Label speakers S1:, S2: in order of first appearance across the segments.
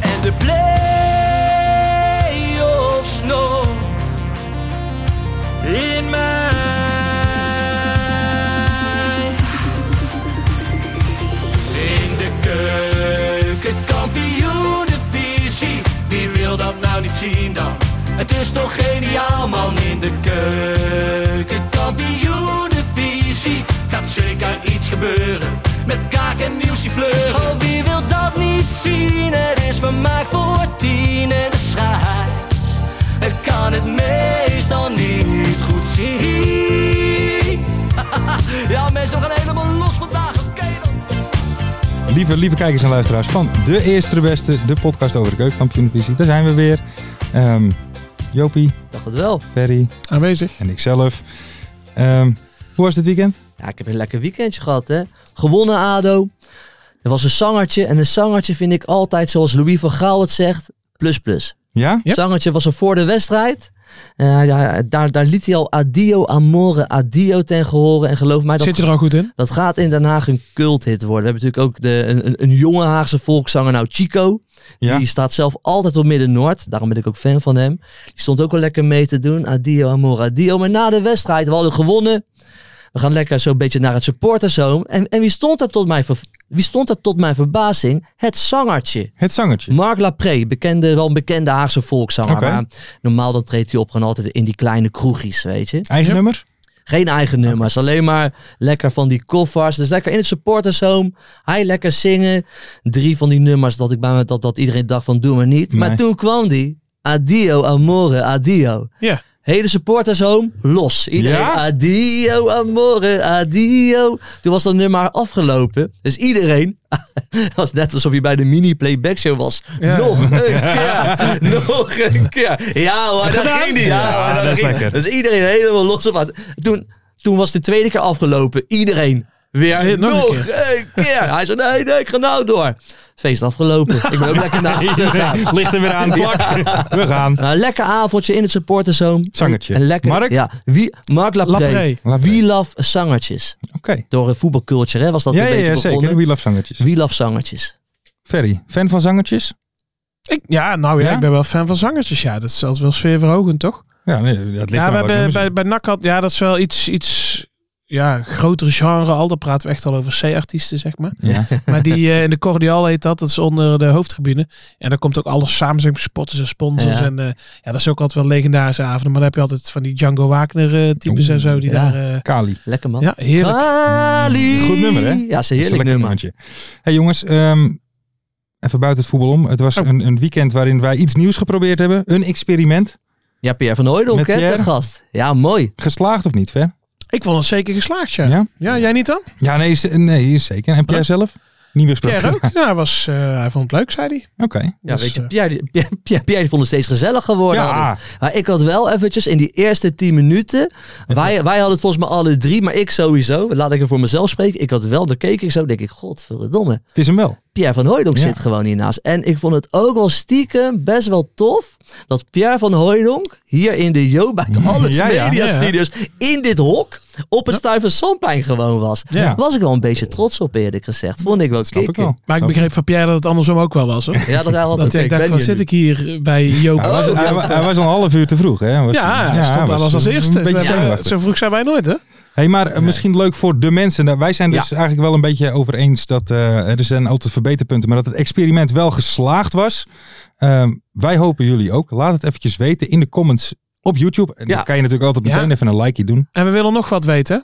S1: En de play-offs nog.
S2: In mij.
S1: In de keuken, kampioenenvisie. Wie wil dat nou niet zien dan? Het is toch geniaal man in de keuken, kampioenenvisie. Gaat zeker iets gebeuren met kaak en nieuwsie fleuren. Oh, wie wil dat niet zien? Het is vermaakt voor tien en de scheids. Het kan het meestal niet goed zien. ja mensen, we gaan helemaal los vandaag, oké dan.
S3: Lieve, lieve kijkers en luisteraars van De Eerste de Beste, de podcast over de keukenkampioenvisie. Daar zijn we weer. Ehm, Jopie,
S4: dacht het wel.
S3: Ferry
S5: aanwezig.
S3: en ikzelf. Ehm, hoe was dit weekend?
S4: Ja, ik heb een lekker weekendje gehad, hè. Gewonnen, ADO. Er was een zangertje. En een zangertje vind ik altijd, zoals Louis van Gaal het zegt, plus plus.
S3: Ja?
S5: Yep.
S4: Zangertje was er voor de wedstrijd. Eh, ja, daar, daar liet hij al adio amore, adio ten gehoren. En geloof mij, dat,
S5: Zit je er al goed in?
S4: dat gaat in Den Haag een culthit worden. We hebben natuurlijk ook de, een, een- een jonge Haagse volkszanger, nou Chico.
S3: Ja.
S4: Die staat zelf altijd op Midden-Noord. Daarom ben ik ook fan van hem. Die stond ook al lekker mee te doen. Adio, amor, adio. Maar na de wedstrijd, we hadden gewonnen. We gaan lekker zo'n beetje naar het supportershome. En, en wie, stond er tot mijn ver- wie stond er tot mijn verbazing? Het zangertje.
S3: Het zangertje.
S4: Marc Lapré, bekende, wel een bekende Haagse volkszanger.
S3: Oké.
S4: Maar normaal dan treedt hij op gewoon altijd in die kleine kroegjes, weet je.
S3: Eigen
S5: Yep.
S3: nummer?
S4: Geen eigen nummers, alleen maar lekker van die koffers. Dus lekker in het supportershome. Hij lekker zingen. Drie van die nummers dat ik bij me, dat, dat iedereen dacht van doe maar niet. Maar
S3: Nee.
S4: toen kwam die. Adio amore, adio.
S5: Ja.
S4: Hele supportershome, los. Iedereen,
S3: Ja?
S4: adio amore, adio. Toen was dat nummer afgelopen. Dus iedereen, het was net alsof je bij de mini-playback show was.
S5: Ja.
S4: Nog een keer, nog een keer. Ja hoor, daar ging die. Ja, hoor,
S3: Ja,
S4: daar
S3: dat is
S4: ging die.
S3: lekker.
S4: Dus iedereen helemaal los op. aan- Toen, toen was de tweede keer afgelopen. Iedereen weer
S5: Nee, nog een
S4: nog een
S5: keer.
S4: keer. Hij zei, nee, nee, ik ga nou door. Feest afgelopen. Ik ben ook lekker na.
S3: Ligt er weer aan. Bart. We gaan.
S4: Nou, lekker avondje in het supporterzone.
S3: Zangertje.
S4: En lekker,
S3: Mark?
S4: Ja, wie, Mark Lapré.
S5: Lapré.
S3: Lapré.
S4: We love zangertjes.
S3: Oké.
S4: Door een voetbalculture, hè, was dat
S3: Ja,
S4: een
S3: ja,
S4: beetje
S3: ja, zeker.
S4: begonnen.
S3: We love zangertjes.
S4: We love zangertjes.
S3: Ferry, fan van zangertjes?
S5: Ik, ja, nou ja,
S3: Ja?
S5: ik ben wel fan van zangertjes. Ja, dat is zelfs wel sfeerverhogend, toch?
S3: Ja, nee, dat ligt
S5: Ja,
S3: aan welk
S5: we
S3: nummer
S5: hebben
S3: ze-
S5: bij, bij NAC had, ja, dat is wel iets, iets ja, grotere genre al. Dan praten we echt al over C-artiesten, zeg maar.
S3: Ja.
S5: Maar die eh, in de Cordial heet dat, dat is onder de hoofdtribune. En daar komt ook alles samen, zeg maar, spotters en sponsors.
S4: Ja.
S5: En eh, ja, dat is ook altijd wel legendarische avonden. Maar dan heb je altijd van die Django Wagner-types en zo, die
S4: ja.
S5: daar... eh,
S3: Kali.
S4: Lekker man.
S5: ja, heerlijk.
S4: Kali.
S3: Goed nummer, hè?
S4: Ja, ze
S3: Heerlijk
S4: heerlijk nummer.
S3: nummertje. hey jongens, ehm, even buiten het voetbal om. Het was
S5: Oh.
S3: een, een weekend waarin wij iets nieuws geprobeerd hebben. Een experiment.
S4: Ja, Pierre van Hooydonk,
S3: Met
S4: hè,
S3: Pierre.
S4: de gast. Ja, mooi.
S3: Geslaagd of niet, Ver?
S5: Ik vond het zeker geslaagd, ja. ja.
S3: Ja?
S5: jij niet dan?
S3: Ja, nee, ze- nee zeker. En Pierre zelf? Niet meer gesproken.
S5: Pierre ook? Ja, hij was, eh, hij vond het leuk, zei hij.
S3: Oké.
S4: Ja,
S5: Dus,
S4: weet je,
S5: eh,
S4: Pierre, die- Pierre, Pierre die vond het steeds gezelliger worden.
S3: Ja, ah,
S4: Maar ik had wel eventjes in die eerste 10 minuten. Wij, wij hadden het volgens mij alle drie, maar ik sowieso. Laat ik er voor mezelf spreken. Ik had wel, dan keek ik zo, denk ik, godverdomme.
S3: het is hem wel.
S4: Pierre van Hooydonk
S3: Ja.
S4: zit gewoon hiernaast. En ik vond het ook wel stiekem best wel tof dat Pierre van Hooydonk hier in de Jo bij de Alles
S3: Ja, ja.
S4: Media
S5: Ja, ja.
S4: Studios in dit hok op het stuiven Sandplein gewoon was.
S3: Ja.
S4: Daar was ik wel een beetje trots op eerlijk gezegd. Vond ik wel
S3: Snap ik
S4: kicken.
S3: wel.
S5: Maar ik
S3: Snap
S5: begreep van Pierre dat het andersom ook wel was, hoor.
S4: Ja, dat hij altijd
S5: Dat ik
S4: oké,
S5: dacht,
S4: ik
S5: van,
S4: ben hier
S5: zit
S4: nu.
S5: ik hier bij Joop?
S3: Hij was, hij, wa- hij was al een half uur te vroeg, hè? Hij Was,
S5: Oh. ja, hij stond daar
S3: hij
S5: als, als
S3: een
S5: eerste.
S3: beetje
S5: Zo-
S3: zenuwachtig.
S5: zo vroeg zijn wij nooit, hè?
S3: hey, maar eh, misschien leuk voor de mensen. Nou, wij zijn dus eigenlijk wel een beetje over eens dat eh, er zijn altijd verbeterpunten, maar dat het experiment wel geslaagd was. Ehm, wij hopen jullie ook. Laat het eventjes weten in de comments op YouTube. En
S4: Ja.
S3: dan kan je natuurlijk altijd meteen
S5: Ja.
S3: even een likeje doen.
S5: En we willen nog wat weten. hè?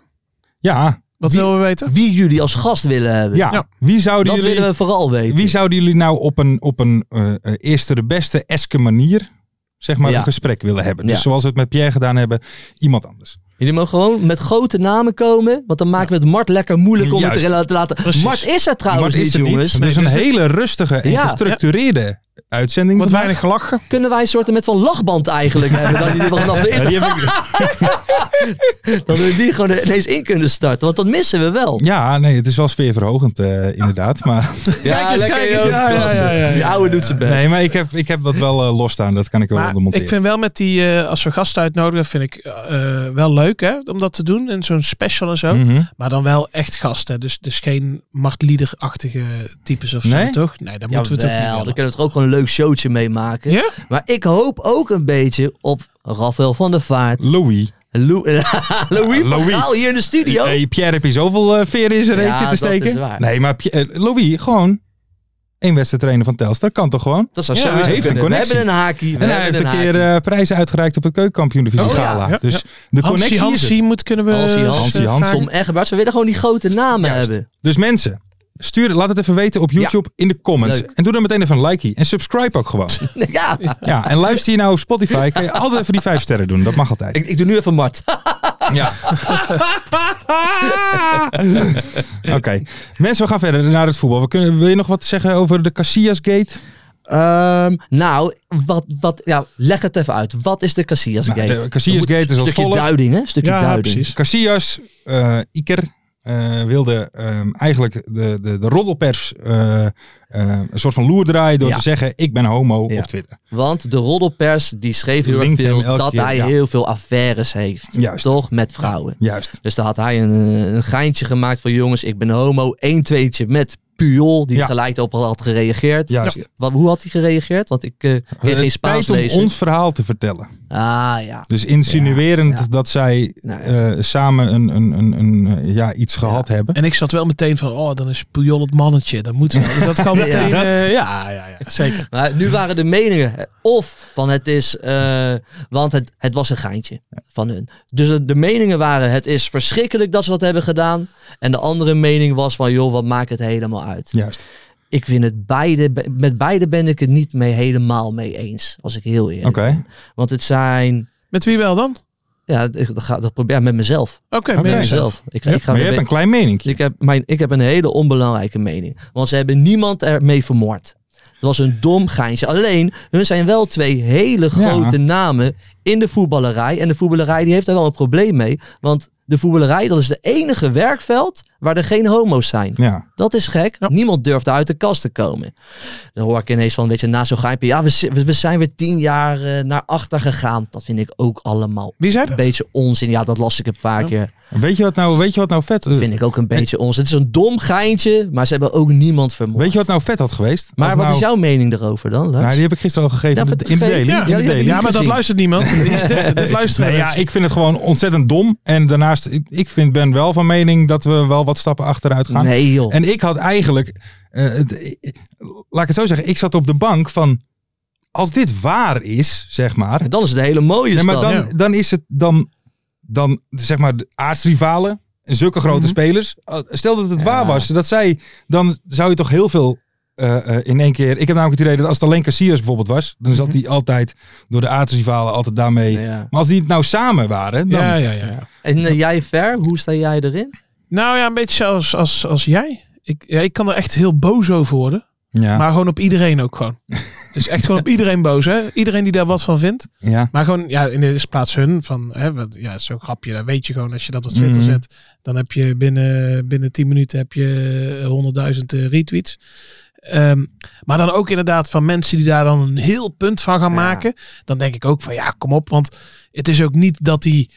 S3: Ja,
S5: Wat
S4: Wie-
S5: willen we weten?
S4: Wie jullie als gast willen hebben.
S3: ja.
S5: Ja.
S3: Wie zouden
S4: Dat
S3: jullie...
S4: willen we vooral weten.
S3: Wie zouden jullie nou op een, op een eh, eh, eerste de beste eske manier zeg maar
S4: Ja.
S3: een gesprek willen hebben? Dus
S4: Ja.
S3: zoals we het met Pierre gedaan hebben, iemand anders.
S4: Jullie mogen gewoon met grote namen komen, want dan maken we het Mart lekker moeilijk om het
S3: Juist.
S4: te rela- te laten.
S5: Precies.
S4: Mart is er trouwens
S3: Maar
S4: niet,
S3: is er
S4: jongens.
S3: niet. Dus een
S5: dus het-
S3: hele rustige en
S4: Ja.
S3: gestructureerde uitzending.
S5: Wat
S3: vandaag.
S5: weinig gelachen.
S4: Kunnen wij een soort met van lachband eigenlijk hebben? Dat die er vanaf de
S3: Ja,
S4: eerste...
S3: die heb ik-
S4: Dat we die gewoon ineens in kunnen starten, want dat missen we wel.
S3: ja, nee, het is wel sfeerverhogend eh, inderdaad. Maar,
S4: Ja, lekker,
S5: kijk eens,
S4: joh.
S5: ja, ja,
S4: Klasse.
S5: ja, ja, ja.
S4: Die ouwe doet zijn best.
S3: nee, maar ik heb, ik heb dat wel eh, losstaan. Dat kan ik wel
S5: Maar
S3: monteren.
S5: ik vind wel met die, eh, als we gasten uitnodigen, vind ik eh, eh, wel leuk hè, om dat te doen. En zo'n special en zo.
S3: Mhm.
S5: Maar dan wel echt gasten. Dus, dus geen machtliederachtige types of
S3: Nee?
S5: zo, toch? Nee, daar moeten
S4: Jawel,
S5: we het ook
S4: dan
S5: niet willen.
S4: kunnen we toch ook gewoon een leuk showtje meemaken.
S5: Ja?
S4: Maar ik hoop ook een beetje op Rafael van der Vaart.
S3: Louis.
S4: Lou- Louis van
S3: Louis.
S4: Gaal hier in de studio.
S3: Eh, Pierre heb je zoveel eh, veren in zijn
S4: Ja,
S3: reet zitten
S4: dat
S3: steken.
S4: is waar.
S3: Nee, maar Pie- eh, Louis, gewoon één wedstrijd trainen van Telstar. Kan toch gewoon?
S4: Dat zou
S5: Ja,
S4: sowieso
S3: hij heeft een
S4: kunnen.
S3: connectie.
S4: We hebben een haakje. We
S3: En hij
S4: hebben
S3: heeft een keer
S4: haakje.
S3: eh, prijzen uitgereikt op het keukenkampioen-divisie
S4: Oh, ja.
S3: gala.
S5: Ja,
S3: Dus
S5: ja.
S3: de
S5: Hansie,
S3: connectie is er.
S5: Hansie moet kunnen we...
S4: Hansie,
S5: eh,
S4: Hansie,
S3: Hansie.
S5: vragen.
S4: Tom Egberts. We willen gewoon die grote namen
S3: Juist.
S4: hebben.
S3: Dus mensen, stuur, laat het even weten op YouTube in de comments.
S4: Leuk.
S3: En doe dan meteen even een likeie. En subscribe ook gewoon.
S4: Ja,
S3: ja, en luister je nou op Spotify, kan je altijd even die vijf sterren doen. Dat mag altijd.
S4: ik, ik doe nu even Mart.
S3: Ja. Oké. Mensen, we gaan verder naar het voetbal. We kunnen, wil je nog wat zeggen over de Casillas Gate?
S4: Ehm, nou, wat, wat, ja, leg het even uit. Wat is de Casillas
S3: Nou,
S4: Gate?
S3: de Casillas
S4: Er moet
S3: Gate is
S4: Een
S3: als
S4: stukje
S3: volgt.
S4: duiding, hè? Een stukje
S5: Ja,
S4: duiding.
S5: precies.
S3: Casillas, eh, Iker, eh, wilde ehm, eigenlijk de, de, de roddelpers eh, eh, een soort van loer draaien door
S4: Ja.
S3: te zeggen: Ik ben homo
S4: Ja.
S3: op Twitter.
S4: Want de roddelpers die schreef heel erg
S3: Linkt
S4: veel
S3: hem elke
S4: dat
S3: keer,
S4: hij
S3: ja.
S4: heel veel affaires heeft.
S3: Juist.
S4: Toch? Met vrouwen.
S3: Juist.
S4: Dus daar had hij een, eh, een geintje gemaakt van jongens, ik ben homo. 1 tweetje met Puyol, die
S3: Ja.
S4: gelijk op al had gereageerd.
S3: Juist.
S4: Wat, hoe had hij gereageerd? Want ik eh
S3: Eh,
S4: kreeg geen Spaans
S3: tijd
S4: lezen.
S3: om ons verhaal te vertellen.
S4: Ah ja.
S3: Dus insinuerend
S4: Ja, ja.
S3: dat zij
S4: Nou,
S3: eh, samen een, een, een, een, eh, ja, iets gehad hebben.
S5: En ik zat wel meteen van, oh, dan is Puyol het mannetje. Dan moeten we. Dus dat kan
S4: Ja.
S5: meteen. eh, ja, ja, ja, zeker.
S4: Maar nu waren de meningen eh, of van het is, eh, want het, het was een geintje van hun. Dus het- de meningen waren het is verschrikkelijk dat ze dat hebben gedaan. En de andere mening was van joh, wat maakt het helemaal uit.
S3: Juist.
S4: Ik vind het beide, be- met beide ben ik het niet mee helemaal mee eens. Als ik heel eerlijk
S3: Oké.
S4: ben. Want het zijn,
S5: Met wie wel dan?
S4: ja, ik- dat, ga, dat probeer ik met mezelf.
S5: Oké,
S3: Oké.
S4: Met
S5: mensen.
S4: mezelf. Ik, ik ga
S3: maar je
S4: weer-
S3: hebt een klein mening.
S4: ik heb, mijn, ik heb een hele onbelangrijke mening. Want ze hebben niemand ermee vermoord. Het was een dom geintje. Alleen, hun zijn wel twee hele grote namen in de voetballerij. En de voetballerij die heeft daar wel een probleem mee. Want de voetballerij, dat is de enige werkveld waar er geen homo's zijn.
S3: Ja.
S4: Dat is gek. Niemand durft uit de kast te komen. Dan hoor ik ineens van, weet je, na zo'n geimpje. Ja, we, zi- we- we zijn weer tien jaar eh, naar achter gegaan. Dat vind ik ook allemaal
S5: Wie zei
S4: een
S5: dat?
S4: beetje onzin. Ja, dat las ik een paar keer.
S3: Weet je wat nou, weet je wat nou vet?
S4: Dat vind ik ook een beetje ons. Het is een dom geintje, maar ze hebben ook niemand vermoord.
S3: Weet je wat nou vet had geweest?
S4: maar
S3: Als
S4: wat
S3: nou-
S4: is jouw mening daarover dan, Lars?
S3: Nou, die heb ik gisteren al gegeven
S4: Ja,
S3: in de- in de
S4: gegeven.
S3: daily.
S5: Ja,
S3: in de
S4: ja, die heb
S3: daily.
S4: ik
S5: Ja, maar dat
S4: gezien.
S5: luistert niemand. dit, dit luisteren
S3: Nee, ja,
S5: mensen.
S3: ik vind het gewoon ontzettend dom. En daarnaast, ik, ik vind, ben wel van mening dat we wel wat stappen achteruit gaan.
S4: Nee joh.
S3: En ik had eigenlijk, eh, het- eh, laat ik het zo zeggen, ik zat op de bank van, als dit waar is, zeg maar.
S4: dan is het een hele mooie
S3: Nee,
S4: stad.
S3: maar dan,
S5: ja.
S3: dan is het dan, dan, zeg maar, de aardsrivalen, zulke grote spelers. Eh, Stel dat het waar was, dat zij, dan zou je toch heel veel eh, eh, in één keer. Ik heb namelijk het idee dat als het alleen Cassius bijvoorbeeld was, dan zat hij altijd door de aardsrivalen altijd daarmee.
S4: Ja.
S3: Maar als die het nou samen waren, dan,
S5: ja, ja, ja, ja.
S4: En eh, jij ver, hoe sta jij erin?
S5: Nou ja, een beetje als, als, als jij. Ik, ja, ik kan er echt heel boos over worden.
S3: Ja.
S5: Maar gewoon op iedereen ook gewoon. Dus echt gewoon op iedereen boos, hè? Iedereen die daar wat van vindt.
S3: ja.
S5: Maar gewoon, ja, in de eerste plaats hun. Van, hè, wat, ja, zo'n grapje, dat weet je gewoon. Als je dat op Twitter
S3: Mhm.
S5: zet, dan heb je binnen, binnen 10 minuten heb je eh, 100.000 eh, retweets. Ehm, maar dan ook inderdaad van mensen die daar dan een heel punt van gaan
S4: Ja.
S5: maken. Dan denk ik ook van, ja, kom op. Want het is ook niet dat die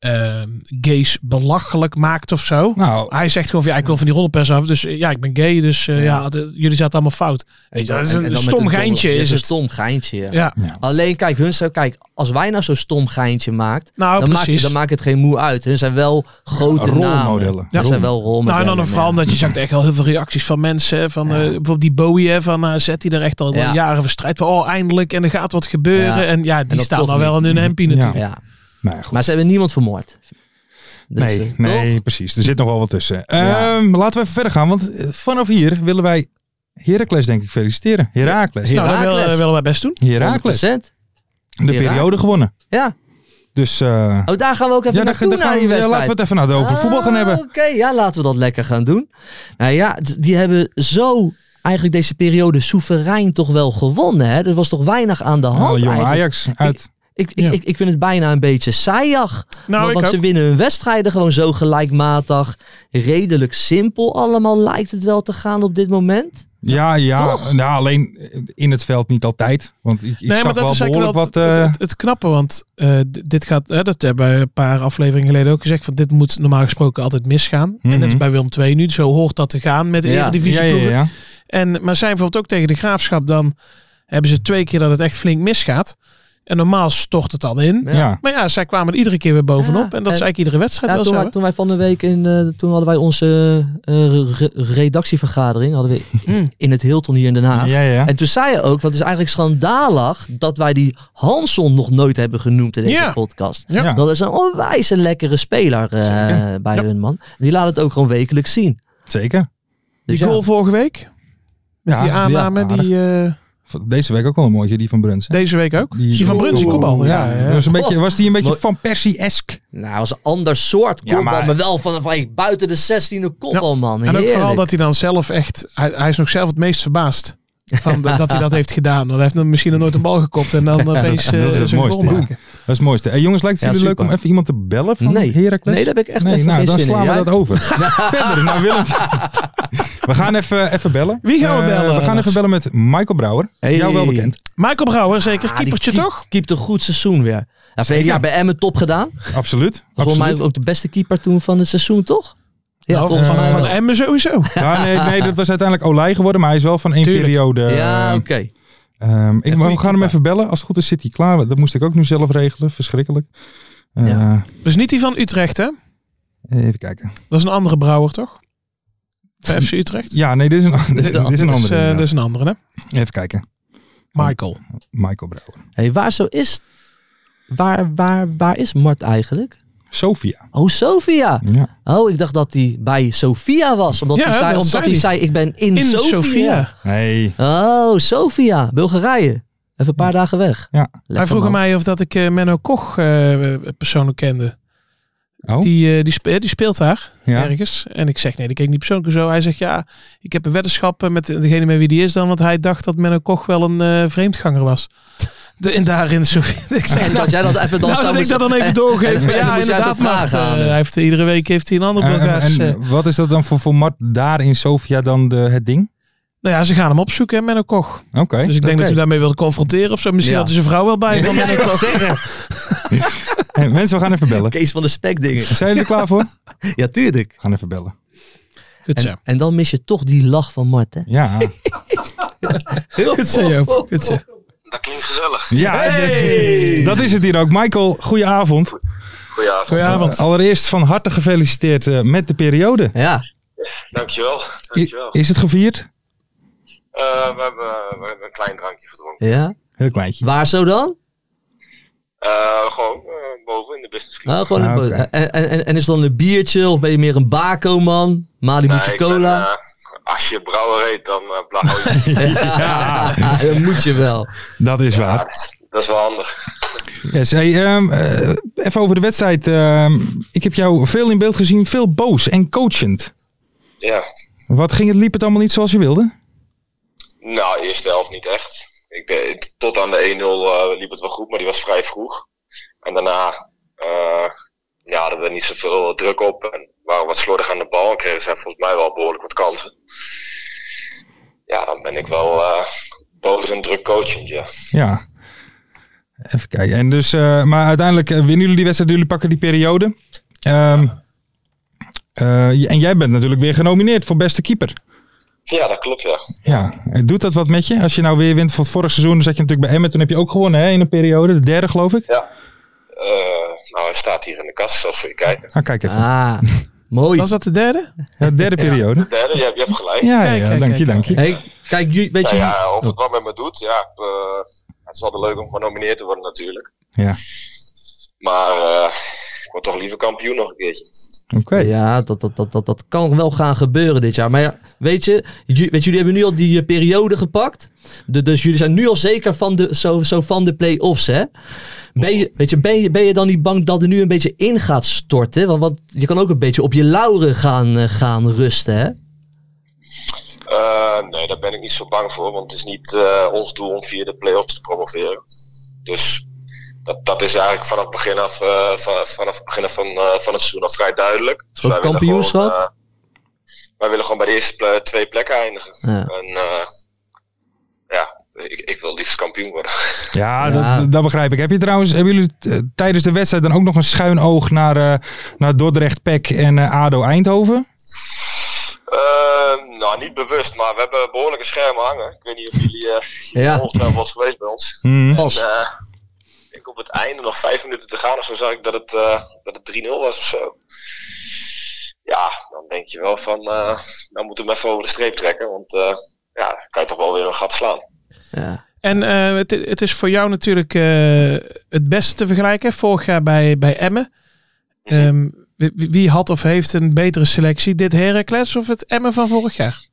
S5: ehm, gays belachelijk maakt of zo.
S3: Nou,
S5: Hij zegt gewoon van, ja, ik wil van die rollenpers af. Dus eh, ja, ik ben gay, dus eh, ja, de- jullie zaten allemaal fout. Weet je, dat is
S4: En- en
S5: een
S4: dan met
S5: stom
S4: het domme-
S5: geintje
S4: Ja,
S5: is
S4: een
S5: het.
S4: stom geintje, ja.
S5: Ja,
S4: Alleen kijk, hun zijn, kijk, als wij nou zo'n stom geintje maakt,
S5: nou
S4: dan, maakt,
S5: precies.
S4: dan maakt het geen moe uit. Hun zijn wel grote
S3: Rolmodellen.
S4: namen. Ze zijn wel
S5: Nou,
S4: rolmodellen.
S5: en dan vooral
S4: ja.
S5: omdat je zag echt wel heel veel reacties van mensen. hè, Van,
S4: Ja.
S5: eh, bijvoorbeeld die Bowie hè, van AZ, die er echt al
S4: Ja.
S5: jaren verstrijdt. Van, oh, eindelijk, en er gaat wat gebeuren.
S4: Ja.
S5: En ja, die
S4: dat
S5: staan
S4: toch
S5: dan wel in hun hempie
S3: Ja.
S5: natuurlijk.
S4: Ja.
S3: nou ja, goed.
S4: Maar ze hebben niemand vermoord. Dus,
S3: nee,
S4: eh,
S3: nee,
S4: toch?
S3: precies. Er zit nog wel wat tussen.
S4: Ja.
S3: Ehm, laten we even verder gaan, want eh, vanaf hier willen wij Heracles denk ik feliciteren. Heracles.
S5: Nou, dat wil-
S4: Heracles.
S5: willen wij best doen.
S3: Heracles.
S4: 100%.
S3: De
S4: Herak-
S3: periode gewonnen.
S4: Ja.
S3: Dus eh,
S4: Oh, daar gaan we ook even
S3: ja, daar,
S4: naartoe
S3: daar
S4: naar
S3: gaan we,
S4: die
S3: ja,
S4: wedstrijd.
S3: laten we het even nou, over
S4: Ah,
S3: voetbal gaan hebben.
S5: Oh,
S4: Oké, ja, laten we dat lekker gaan doen. Nou ja, d- die hebben zo eigenlijk deze periode soeverein toch wel gewonnen. Hè? Er was toch weinig aan de hand.
S3: Oh, jong
S4: eigenlijk.
S3: Ajax uit.
S4: Ik, ik,
S5: Ja.
S4: ik, ik vind het bijna een beetje saaiig.
S5: Nou,
S4: want want
S5: ik
S4: ze
S5: ook.
S4: winnen hun wedstrijden gewoon zo gelijkmatig. Redelijk simpel allemaal lijkt het wel te gaan op dit moment.
S3: Ja, ja.
S4: Toch?
S3: Nou, alleen in het veld niet altijd. Want ik, ik
S5: Nee, maar
S3: zag
S5: dat
S3: wel
S5: is eigenlijk
S3: behoorlijk
S5: wel
S3: wat...
S5: het, het,
S3: eh,
S5: het, het knappe, want eh, d- dit gaat, hè, dat hebben we een paar afleveringen geleden ook gezegd, van dit moet normaal gesproken altijd misgaan. En
S3: Mhm.
S5: net als bij Willem II nu, zo hoort dat te gaan met de
S4: Ja.
S5: Eredivisie
S3: ja, ja, ja.
S5: En, maar zijn bijvoorbeeld ook tegen de Graafschap, dan hebben ze twee keer dat het echt flink misgaat. En normaal stort het dan in.
S3: ja. ja.
S5: Maar ja, zij kwamen er iedere keer weer bovenop.
S4: Ja,
S5: en dat is
S4: en-
S5: eigenlijk iedere wedstrijd
S4: Ja,
S5: wel zo.
S4: toen, wij,
S5: hè?
S4: toen wij van de week in, eh, toen hadden wij onze eh, re- redactievergadering hadden we
S5: Hmm.
S4: in het Hilton hier in Den Haag.
S3: Ja, ja.
S4: En toen zei je ook, want het is eigenlijk schandalig dat wij die Hanson nog nooit hebben genoemd in deze
S5: Ja.
S4: podcast.
S5: Ja.
S3: Ja.
S4: Dat is een onwijs lekkere speler eh,
S3: Zeker.
S4: bij
S5: Ja.
S4: hun man. Die laat het ook gewoon wekelijks zien.
S3: Zeker.
S5: Die
S4: Dus ja.
S5: goal vorige week. Met
S3: Ja,
S5: die
S3: ja,
S5: aanname, die, eh,
S3: Deze week ook wel een mooie, die van Bruns. hè?
S5: deze week ook. Die, van Bruns, die
S3: oh,
S5: kopbal. Ja, ja.
S3: Was, een beetje,
S4: Oh.
S3: was die een beetje
S4: Mooi.
S3: van Persie-esk?
S4: Nou, was een ander soort
S3: Ja,
S4: kopbal, maar...
S3: maar-
S4: wel van, van hey, buiten de 16e kopbal, man.
S5: En ook vooral
S4: Heerlijk.
S5: dat hij dan zelf echt... Hij, hij is nog zelf het meest verbaasd. Van de- dat hij dat heeft gedaan. Want hij heeft nog misschien nog nooit een bal gekopt. En dan opeens eh,
S3: Dat is het
S5: zo'n goal
S3: mooiste, ja.
S5: maken.
S3: Dat is het mooiste. Hey, jongens, lijkt het
S4: Ja,
S3: jullie leuk om
S4: super.
S3: even iemand te bellen van
S4: Nee.
S3: Heracles?
S4: Nee, daar heb ik echt
S3: Nee,
S4: even
S3: nou,
S4: geen
S3: dan
S4: zin in.
S3: slaan we
S4: Jij?
S3: dat over. Verder naar Willem. We gaan even, even bellen.
S5: Wie gaan we
S3: Eh,
S5: bellen,
S3: we gaan
S5: Lars?
S3: even bellen met Michael Brouwer.
S4: Hey.
S3: Jou wel bekend.
S5: Michael Brouwer zeker.
S4: Ah, die
S5: keepertje
S4: keep-
S5: toch?
S4: Keept een goed seizoen weer. Ja, vorig jaar bij Emmen top gedaan. Was
S3: Absoluut.
S4: Volgens mij
S3: absoluut.
S4: ook de beste keeper toen van het seizoen, toch? Ja,
S5: Nou,
S4: volgens
S5: van,
S4: mij
S5: van
S4: wel.
S5: Emmen sowieso.
S3: Ja, nee, nee, dat was uiteindelijk Olij geworden, maar hij is wel van één
S5: Tuurlijk.
S3: periode.
S4: ja,
S3: eh,
S4: oké.
S3: ehm, ik, we
S4: goede
S3: gaan hem
S4: keeper.
S3: even bellen. Als het goed is zit hij klaar. Dat moest ik ook nu zelf regelen. Verschrikkelijk. Eh,
S4: Ja.
S5: Dus niet die van Utrecht hè?
S3: Even kijken.
S5: Dat is een andere Brouwer toch? Bij FC Utrecht?
S3: Ja, nee, dit is een, dit, dit is een
S5: Dus,
S3: andere.
S5: eh,
S3: inderdaad.
S5: dat is een andere hè?
S3: Even kijken.
S5: Michael.
S3: Michael Brouwer.
S4: Hey, waar zo is... Waar, waar, waar is Mart eigenlijk?
S3: Sophia.
S4: Oh, Sofia.
S3: Ja.
S4: Oh, ik dacht dat hij bij Sofia was. Omdat,
S5: Ja,
S4: hij, zei,
S5: dat
S4: omdat
S5: zei
S4: hij
S5: hij.
S4: zei, ik ben in,
S5: In
S4: Sofia.
S5: Sofia.
S3: Hey.
S4: Oh, Sofia. Bulgarije. Even een paar dagen weg.
S3: Ja.
S4: Lekker,
S5: Hij vroeg
S4: man.
S5: aan mij of dat ik eh, Menno Koch eh, persoonlijk kende.
S3: Oh,
S5: Die, eh, die, spe- die speelt daar
S3: ja.
S5: ergens. En ik zeg nee, dat ken ik niet persoonlijk en zo. Hij zegt ja, ik heb een weddenschap eh, met degene met wie die is dan. Want hij dacht dat Menno Koch wel een eh, vreemdganger was. De, en daarin Sofia. ik zeg,
S4: En dat jij dat even dan
S5: nou,
S4: zou
S5: dat ik
S4: moeten-
S5: dat dan even
S4: en-
S5: doorgeef.
S4: en dan
S5: ja,
S4: moet jij
S5: inderdaad.
S4: de vraag
S5: Mart, eh,
S4: aan hem.
S5: hij heeft, iedere week heeft hij een ander
S3: En,
S5: Bulgaars.
S3: en-
S5: eh.
S3: en wat is dat dan voor, voor Mart daar in Sofia dan de, het ding?
S5: nou ja, ze gaan hem opzoeken, hè, Menno Koch.
S3: Oké.
S5: Dus ik denk
S4: Oké.
S5: dat u daarmee wilde confronteren of zo. Misschien
S4: Ja.
S5: had hij zijn vrouw wel bij.
S4: Ja,
S5: Van Menno
S4: ik wou
S5: Koch.
S4: zeggen.
S3: Hey, mensen, we gaan even bellen.
S4: Kees van de Spekdingen.
S3: Zijn jullie er klaar voor? We
S4: Ja, tuurlijk.
S3: gaan even bellen.
S5: Goed zo.
S4: En, en dan mis je toch die lach van Mart, hè?
S3: Ja.
S5: Goed zo, Joop. Goed zo.
S6: Dat klinkt gezellig.
S3: ja de- Dat is het hier ook. Michael, goedenavond.
S6: Goedenavond.
S5: Goedenavond.
S3: Allereerst van harte gefeliciteerd eh, met de periode.
S4: Ja.
S6: Dankjewel.
S3: I-
S6: Dankjewel.
S3: is het gevierd?
S6: Eh, we, hebben, we hebben een klein drankje gedronken.
S4: ja.
S3: Heel kleintje.
S4: Waar zo dan?
S6: Eh, gewoon eh, boven in de business club.
S4: Nou, gewoon een
S3: Ah,
S4: bo-
S3: oké.
S4: en, en, en, en is het dan een biertje of ben je meer een bako-man? Malibu'tje
S6: Nee, Nou, ik ben,
S4: cola?
S6: eh, als je brouwer heet, dan eh blauw.
S4: ja, dat moet je wel.
S3: Dat is
S6: Ja,
S3: waar.
S6: dat- dat is wel handig.
S3: Yes, hey, ehm, eh, even over de wedstrijd. Ehm, ik heb jou veel in beeld gezien, veel boos en coachend.
S6: Ja.
S3: Wat ging het, liep het allemaal niet zoals je wilde?
S6: Nou, eerste helft niet echt. Ik ben, tot aan de 1-0 eh, liep het wel goed, maar die was vrij vroeg. En daarna eh ja, hadden we niet zoveel druk op. En waren wat slordig aan de bal. En kregen ze volgens mij wel behoorlijk wat kansen. Ja, dan ben ik wel eh boos en druk coachend, ja.
S3: Ja. Even kijken. En dus, eh, maar uiteindelijk eh, winnen jullie die wedstrijd, jullie pakken die periode. Ehm, eh, j- en jij bent natuurlijk weer genomineerd voor beste keeper.
S6: Ja, dat klopt, ja.
S3: Ja. Eh, Doet dat wat met je? Als je nou weer wint van het vorig seizoen, zat je natuurlijk bij Emmen. Toen heb je ook gewonnen hè, in een periode, de derde geloof ik.
S6: ja. Eh, nou, hij staat hier in de kast, zoals voor je kijken.
S3: Ah, kijk even.
S4: Ah, mooi.
S5: Was dat de derde?
S3: Ja, de derde periode.
S6: Derde, je hebt, je hebt gelijk.
S3: Ja, ja,
S5: Kijk, kijk,
S3: dank je,
S5: kijk,
S3: dank je.
S4: Hey, kijk, ju- weet
S6: Nou
S4: je...
S6: ja, of het wat met me doet, ja. eh, het is altijd leuk om genomineerd te worden natuurlijk.
S3: Ja.
S6: Maar eh, Ik word toch liever kampioen nog een keertje.
S3: Oké.
S4: Ja, dat, dat, dat, dat, dat kan wel gaan gebeuren dit jaar. Maar ja, weet je, ju- weet, je, jullie hebben nu al die eh, periode gepakt. De- dus jullie zijn nu al zeker van de, zo, zo van de play-offs, hè? Ben je, weet je, ben, je, ben je dan niet bang dat er nu een beetje in gaat storten? Want, want je kan ook een beetje op je lauren gaan, eh, gaan rusten, hè?
S6: Eh, nee, daar ben ik niet zo bang voor, want het is niet eh, ons doel om via de play-offs te promoveren. Dus dat, dat is eigenlijk vanaf het begin af, eh, van, vanaf het begin af van, eh, van het seizoen al vrij duidelijk. Dus
S4: Ook
S6: wij willen
S4: kampioenschap?
S6: gewoon, eh, wij willen gewoon bij de eerste ple- twee plekken eindigen.
S4: Ja.
S6: En eh, ja, ik, ik wil liefst kampioen worden.
S3: Ja,
S4: Ja.
S3: Dat, dat begrijp ik. Heb je trouwens, hebben jullie t- eh, tijdens de wedstrijd dan ook nog een schuin oog naar, eh, naar Dordrecht, PEC en eh, ADO Eindhoven?
S6: Eh, nou, niet bewust, maar we hebben behoorlijke schermen hangen. Ik weet niet of jullie eh
S4: Ja.
S6: ja. ongetwijfeld was geweest bij ons.
S3: Hmm.
S6: En, eh, ik denk op het einde nog vijf minuten te gaan of zo zag ik dat het, eh, dat het 3-0 was of zo. Ja, dan denk je wel van, eh nou moeten we hem even over de streep trekken, want eh, ja, dan kan je toch wel weer een gat slaan.
S4: Ja.
S5: En eh, het, het is voor jou natuurlijk eh, het beste te vergelijken. Vorig jaar bij, bij Emmen.
S4: Mhm.
S5: Ehm, wie, wie- wie had of heeft een betere selectie? Dit Heracles of het Emmen van vorig jaar?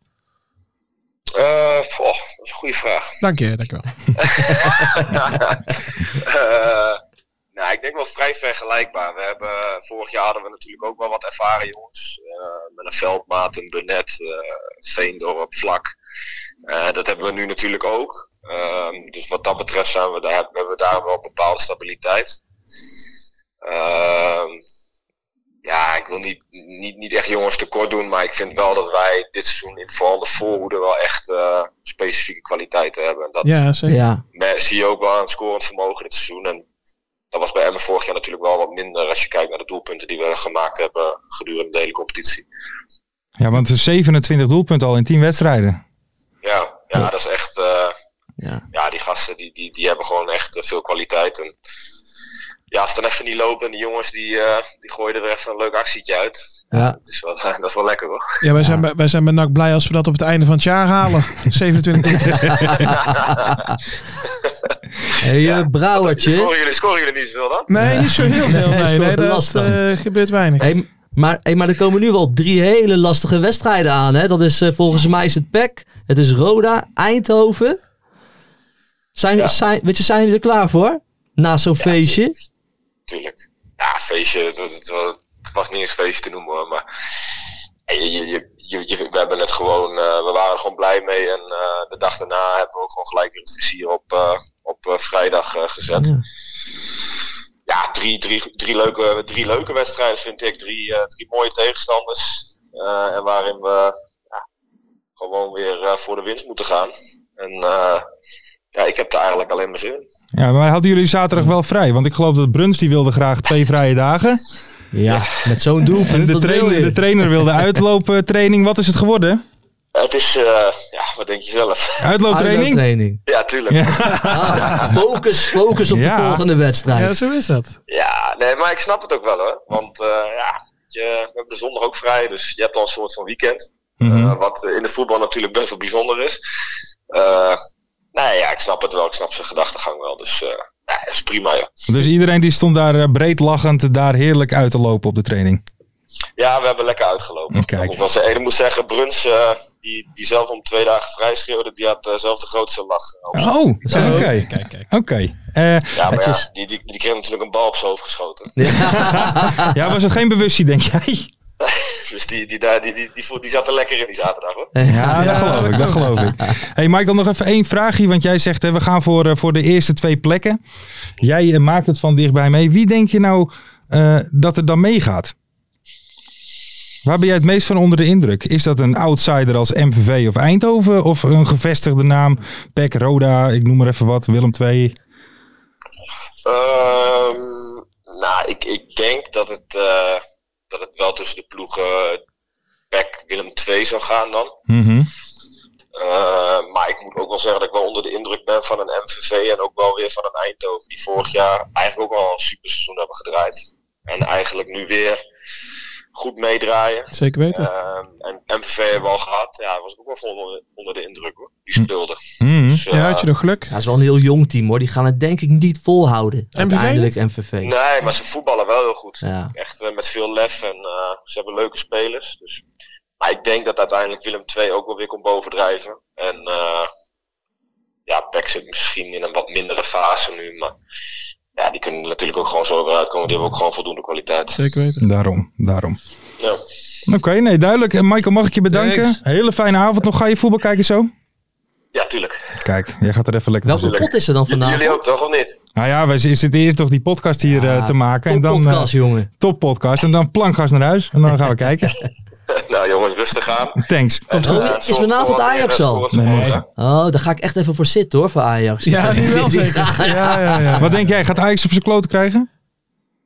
S6: Eh, goh, dat is een goede vraag.
S5: Dank je, dank je wel.
S6: Eh, nou, ik denk wel vrij vergelijkbaar. We hebben, vorig jaar hadden we natuurlijk ook wel wat ervaren jongens. Eh, met een veldmaat, een Benet, eh Veendorp, Vlak. Eh, dat hebben we nu natuurlijk ook. Ehm, dus wat dat betreft zijn we daar, hebben we daar wel bepaalde stabiliteit. Ehm, ja, ik wil niet, niet, niet echt jongens tekort doen, maar ik vind wel dat wij dit seizoen in vooral de voorhoede wel echt eh, specifieke kwaliteiten hebben. En dat,
S5: Ja, zeker.
S4: ja.
S6: maar zie je ook wel een scorend vermogen dit seizoen. En dat was bij Emmen vorig jaar natuurlijk wel wat minder als je kijkt naar de doelpunten die we gemaakt hebben gedurende de hele competitie.
S3: Ja, want er is 27 doelpunten al in 10 wedstrijden.
S6: Ja, ja dat is echt. eh,
S4: Ja.
S6: ja, die gasten die, die, die hebben gewoon echt eh, veel kwaliteit. En ja, als het dan even niet loopt en die jongens die, eh, die gooien er weer even een leuk actietje uit.
S4: Ja.
S6: Dat is wel, dat is wel lekker hoor.
S5: Ja, wij, Zijn, bij- wij zijn bij NAC blij als we dat op het einde van het jaar halen. 27 punten.
S4: Hey, eh, Brouwertje.
S6: Scoren jullie, scoren jullie niet zoveel dan?
S5: Nee, niet zo heel veel.
S4: Nee,
S5: Nee,
S4: scoort
S5: nee,
S4: de last
S5: dat
S4: dan.
S5: eh, gebeurt weinig.
S4: Hey, m- maar, hey, maar er komen nu wel drie hele lastige wedstrijden aan. Hè? Dat is eh, volgens mij is het PEC, het is Roda, Eindhoven. Zijn, zijn, weet je, zijn jullie er klaar voor? Na zo'n feestje?
S6: Tuurlijk. Ja, feestje, het, was- het was- het was niet eens feestje te noemen hoor, maar je, je, je, je- je- we hebben het gewoon, eh, we waren er gewoon blij mee en eh, de dag daarna hebben we ook gewoon gelijk weer het vizier op, eh, op eh, vrijdag eh, gezet.
S4: Ja.
S6: Ja, drie, drie, drie, leuke, drie leuke wedstrijden vind ik, drie, eh, drie mooie tegenstanders eh, en waarin we ja, gewoon weer eh, voor de winst moeten gaan. En eh, ja, ik heb daar eigenlijk alleen maar zin in.
S3: Ja, maar hadden jullie zaterdag wel vrij? Want ik geloof dat Bruns die wilde graag twee vrije dagen.
S4: Ja, met zo'n doelpunt.
S3: En de
S4: wat wil
S3: trainer,
S4: je?
S3: de trainer wilde uitlooptraining. training. Wat is het geworden?
S6: Het is, eh, ja, wat denk je zelf?
S3: Uitlooptraining?
S4: Uitlooptraining.
S6: Ja, tuurlijk.
S3: Ja.
S6: Ja.
S4: Ah, focus, focus op de
S3: Ja. volgende
S4: volgende
S5: Ja,
S4: wedstrijd.
S5: zo is dat.
S6: nee, maar ik snap het ook wel hoor. Want eh, ja, je, we hebben de zondag ook vrij, dus je hebt al een soort van weekend.
S3: Mhm.
S6: Eh, wat eh, in de voetbal natuurlijk best wel bijzonder is. Eh nee, ja, ik snap het wel. Ik snap zijn gedachtegang wel. Dus eh ja, is prima joh.
S3: Dus iedereen die stond daar eh, breed lachend daar heerlijk uit te lopen op de training.
S6: Ja, we hebben lekker uitgelopen.
S3: Kijk.
S6: Ik, was, ik moet zeggen, Bruns, eh, die, die zelf om twee dagen vrij schreeuwde, die had eh, zelf de grootste lach. eh,
S3: Oh, oké.
S4: Zo.
S5: Kijk, kijk.
S3: Oké. Eh,
S6: Ja, maar
S4: Netjes.
S6: ja, die, die, die kreeg natuurlijk een bal op zijn hoofd geschoten.
S3: ja, was het geen bewustzijn, denk jij?
S6: Dus die, die, daar- die, die, die, voel- die zat er lekker in die zaterdag hoor.
S3: Ja, dat geloof ik, dat geloof ik. hey Michael, nog even één vraagje, want jij zegt hè, we gaan voor, eh, voor de eerste twee plekken. Jij eh, maakt het van dichtbij mee. Wie denk je nou eh, dat er dan meegaat? Waar ben jij het meest van onder de indruk? Is dat een outsider als MVV of Eindhoven? Of een gevestigde naam, PEC, Roda, ik noem maar even wat, Willem II?
S6: Ehm, nou, ik, ik denk dat het, eh, dat het wel tussen de ploegen PEC Willem II zou gaan dan.
S3: Mhm.
S6: Eh, maar ik moet ook wel zeggen dat ik wel onder de indruk ben van een MVV en ook wel weer van een Eindhoven. Die vorig jaar eigenlijk ook al een super seizoen hebben gedraaid. En eigenlijk nu weer goed meedraaien.
S5: Zeker weten.
S6: Ehm, en MVV hebben we al gehad. Ja, daar was ik ook wel van onder- onder de indruk hoor. Die speelde.
S3: Mhm.
S6: Dus,
S5: Hm. Ja, had je nog geluk.
S4: Ja, dat is wel een heel jong team hoor. Die gaan het denk ik niet volhouden. Uiteindelijk MVV.
S6: eh, nee, maar ze voetballen wel heel goed.
S4: Ja.
S6: Echt eh, met veel lef en eh, ze hebben leuke spelers. Dus. Maar ik denk dat uiteindelijk Willem II ook wel weer komt bovendrijven. En eh, ja, PEC zit misschien in een wat mindere fase nu. Maar ja, die kunnen natuurlijk ook gewoon zo eruit komen. Die hebben ook gewoon voldoende kwaliteit.
S5: Zeker weten.
S3: Daarom, daarom.
S6: Ja.
S3: Oké, nee, duidelijk. En Michael, mag ik je bedanken?
S5: Thanks.
S3: Hele fijne avond nog. Ga je voetbal kijken zo?
S6: ja, tuurlijk.
S3: Kijk, jij gaat er even lekker
S4: Welke
S3: naartoe.
S4: pot is er dan
S6: J- jullie
S4: vanavond?
S6: ook toch of niet?
S3: Nou ja, wij zitten eerst toch die podcast hier
S4: Ja,
S3: eh, te maken. En dan
S4: Ah, podcast, jongen.
S3: top podcast. En dan plankgas naar huis. En dan gaan we kijken.
S6: nou jongens, rustig aan. Eh,
S3: Thanks.
S6: Komt
S4: goed. Is vanavond Ajax al? Oh, daar ga ik echt even voor zitten hoor, voor Ajax.
S5: Ja, nu wel
S4: Die- die-
S5: zeker. Ja, ja, ja.
S3: Wat denk jij? Gaat Ajax op zijn kloten krijgen?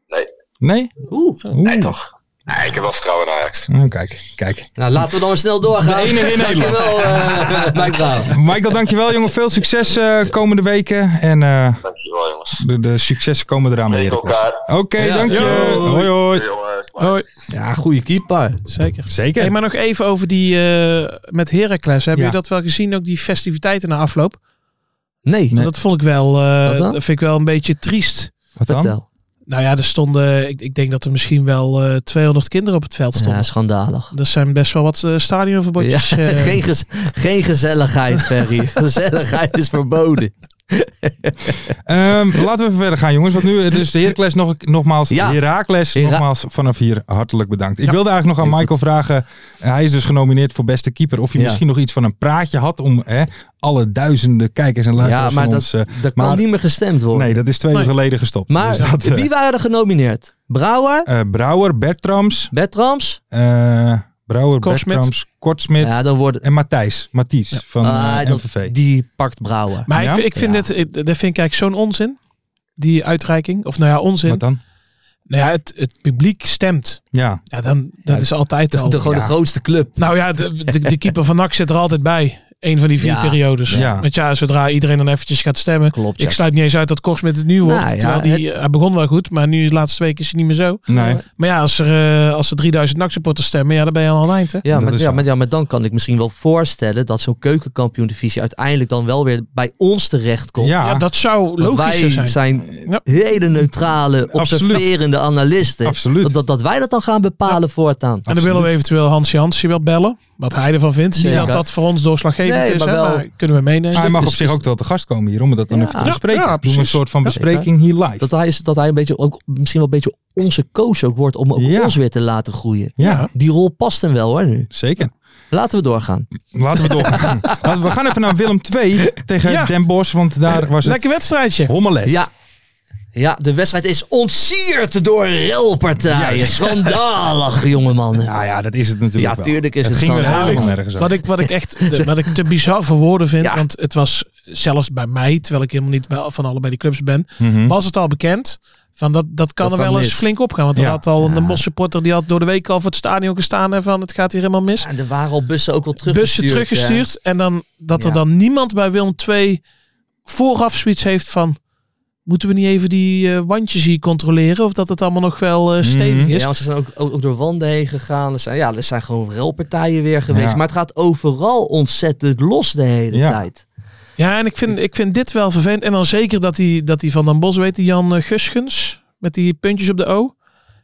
S6: Nee.
S3: Nee?
S4: Oeh.
S3: Oeh.
S6: Nee, toch? Nee, ik heb wel vertrouwen in Ajax.
S3: Oh, kijk, kijk.
S4: Nou, laten we dan maar snel doorgaan.
S3: enige in Nederland.
S4: Dankjewel, eh, Mike Brouw.
S3: Michael, dankjewel jongen. Veel succes eh, komende weken. En eh,
S6: Dankjewel jongens.
S3: de, de successen komen eraan weer.
S6: Tegen
S3: Oké,
S6: elkaar.
S4: Ja.
S3: dank je.
S5: Yo.
S3: Hoi hoi.
S6: Jongens, maar-
S5: Hoi.
S4: Ja, goede keeper.
S5: Zeker.
S3: Zeker.
S5: Hey, maar nog even over die eh, met Heracles. Hebben
S4: Ja.
S5: jullie dat wel gezien? Ook die festiviteiten na afloop?
S4: Nee,
S5: Dat vond ik wel, eh,
S4: Wat dan?
S5: dat vind ik wel een beetje triest.
S3: Wat dan?
S4: vertel.
S5: Nou ja, er stonden, ik, ik denk dat er misschien wel eh, 200 kinderen op het veld stonden.
S4: Ja, schandalig.
S5: Dat zijn best wel wat eh,
S4: Ja,
S5: stadionverbodjes. eh.
S4: geen, gez- geen gezelligheid, Ferry. gezelligheid is verboden.
S3: Ehm, laten we even verder gaan jongens. Want nu eh, dus de Heracles nog, nogmaals.
S4: Ja.
S3: Heracles
S4: Hera-
S3: nogmaals vanaf hier hartelijk bedankt. Ik wilde eigenlijk nog aan
S4: Heel
S3: Michael vragen. eh, hij is dus genomineerd voor beste keeper. Of hij
S4: Ja.
S3: misschien nog iets van een praatje had om hè, alle duizenden kijkers en luisteraars
S4: Ja, maar
S3: van
S4: dat,
S3: ons... eh,
S4: dat kan
S3: maar-
S4: niet meer gestemd worden.
S3: nee, dat is twee
S5: Nee.
S3: uur geleden gestopt.
S4: maar
S3: Dus dat, eh,
S4: wie waren er genomineerd? Brouwer,
S3: eh, Brouwer, Bertrams,
S4: Bertrams?
S3: eh, Brouwer,
S5: Kortsmit.
S3: Bertrams, Kortsmit.
S4: Ja, dan wordt...
S3: En Matthijs, Matthijs van
S4: Ah,
S3: eh,
S4: dat-
S3: MVV.
S4: die pakt Brouwer.
S5: Maar ik,
S3: Ja?
S5: ik vind
S4: Ja.
S5: dit, ik- dat vind ik eigenlijk zo'n onzin. Die uitreiking. Of nou ja, onzin.
S3: Wat dan?
S5: Nou ja, het, het publiek stemt.
S3: Ja,
S5: Ja, dan, dat is altijd
S4: De,
S5: al.
S4: de, gewoon de
S3: ja.
S4: grootste club.
S5: Nou ja, de, de, de keeper van NAC zit er altijd bij. Eén van die vier
S4: Ja.
S5: periodes.
S3: Ja.
S5: Want ja, zodra iedereen dan eventjes gaat stemmen.
S4: Klopt, ja.
S5: Ik sluit niet eens uit dat Kors met het nu wordt.
S4: Nou ja,
S5: terwijl die, eh, hij begon wel goed, maar nu de laatste twee keer is hij niet meer zo.
S3: nee.
S5: Maar ja, als er, eh, als er 3000 NAC-supporters stemmen, ja, dan ben je al aan het eind. Hè?
S4: Ja,
S3: Dat
S4: maar,
S3: is
S4: ja,
S3: waar.
S4: maar, ja, maar dan kan ik misschien wel voorstellen dat zo'n keukenkampioen-divisie uiteindelijk dan wel weer bij ons terecht komt.
S3: Ja,
S5: Ja, dat zou
S4: Want
S5: logischer
S4: wij
S5: zijn.
S4: zijn,
S5: Ja.
S4: hele neutrale,
S3: Absoluut.
S4: observerende analisten.
S3: Absoluut.
S4: Dat, dat, dat wij dat dan gaan bepalen voortaan.
S5: En dan willen we eventueel Hans Jansje wel bellen. Wat hij ervan vindt. Niet
S4: Zeker.
S5: dat dat voor ons doorslaggevend
S4: Nee,
S5: is.
S4: maar
S5: hè,
S4: wel-
S5: maar kunnen we meenemen.
S3: Maar hij mag op
S4: dus-
S3: zich ook wel te gast komen hier om dat dan
S4: Ja.
S3: even te
S4: Ja,
S3: bespreken.
S5: ja,
S3: Doen we een
S5: precies.
S3: soort van
S5: Ja,
S3: bespreking hier live.
S4: Dat hij, is, dat hij een beetje ook, misschien wel een beetje onze coach ook wordt om ook
S3: Ja.
S4: ons weer te laten groeien.
S3: ja,
S4: Die rol past hem wel hoor nu.
S3: zeker.
S4: Laten we doorgaan.
S3: Laten we doorgaan. Laten we we gaan even naar Willem II tegen
S5: Ja.
S3: Den Bosch, want daar was het
S5: Lekker wedstrijdje.
S3: hommeles.
S4: Ja. Ja, de wedstrijd is ontsierd door relpartijen.
S3: Juist.
S4: Schandalig, jongeman.
S3: Nou ja, dat is het natuurlijk
S4: Ja,
S3: wel.
S4: tuurlijk is
S3: het
S4: het
S3: ging weer
S4: gewoon-
S3: helemaal
S4: Ja,
S3: nergens
S5: Wat
S3: over.
S5: ik, wat ik echt de- wat ik te bizar voor woorden vind.
S4: Ja.
S5: Want het was zelfs bij mij, terwijl ik helemaal niet bij- van allebei die clubs ben.
S3: Mhm.
S5: Was het al bekend. Van dat, dat kan
S4: Hm? Dat
S5: er wel
S4: kan
S5: eens
S4: mis.
S5: flink op gaan. Want er
S3: Ja.
S5: had al een Mos supporter die had door de week al voor het stadion gestaan. En van het gaat hier helemaal mis.
S4: En er waren al bussen ook al
S5: Bussen
S4: teruggestuurd.
S5: teruggestuurd. En dan, dat
S4: Ja.
S5: er dan niemand bij Willem 2 vooraf zoiets heeft van... Moeten we niet even die eh, wandjes hier controleren? Of dat het allemaal nog wel eh, stevig
S4: Ja,
S5: is?
S4: want ze zijn ook, ook, ook door wanden heen gegaan. Er zijn, ja, er zijn gewoon relpartijen weer geweest.
S3: Ja.
S4: Maar het gaat overal ontzettend los de hele
S3: Ja.
S4: tijd.
S5: Ja, en ik vind, ik vind dit wel vervelend. En dan zeker dat die, dat die van Den Bos, weet die Jan eh, Guskens, met die puntjes op de O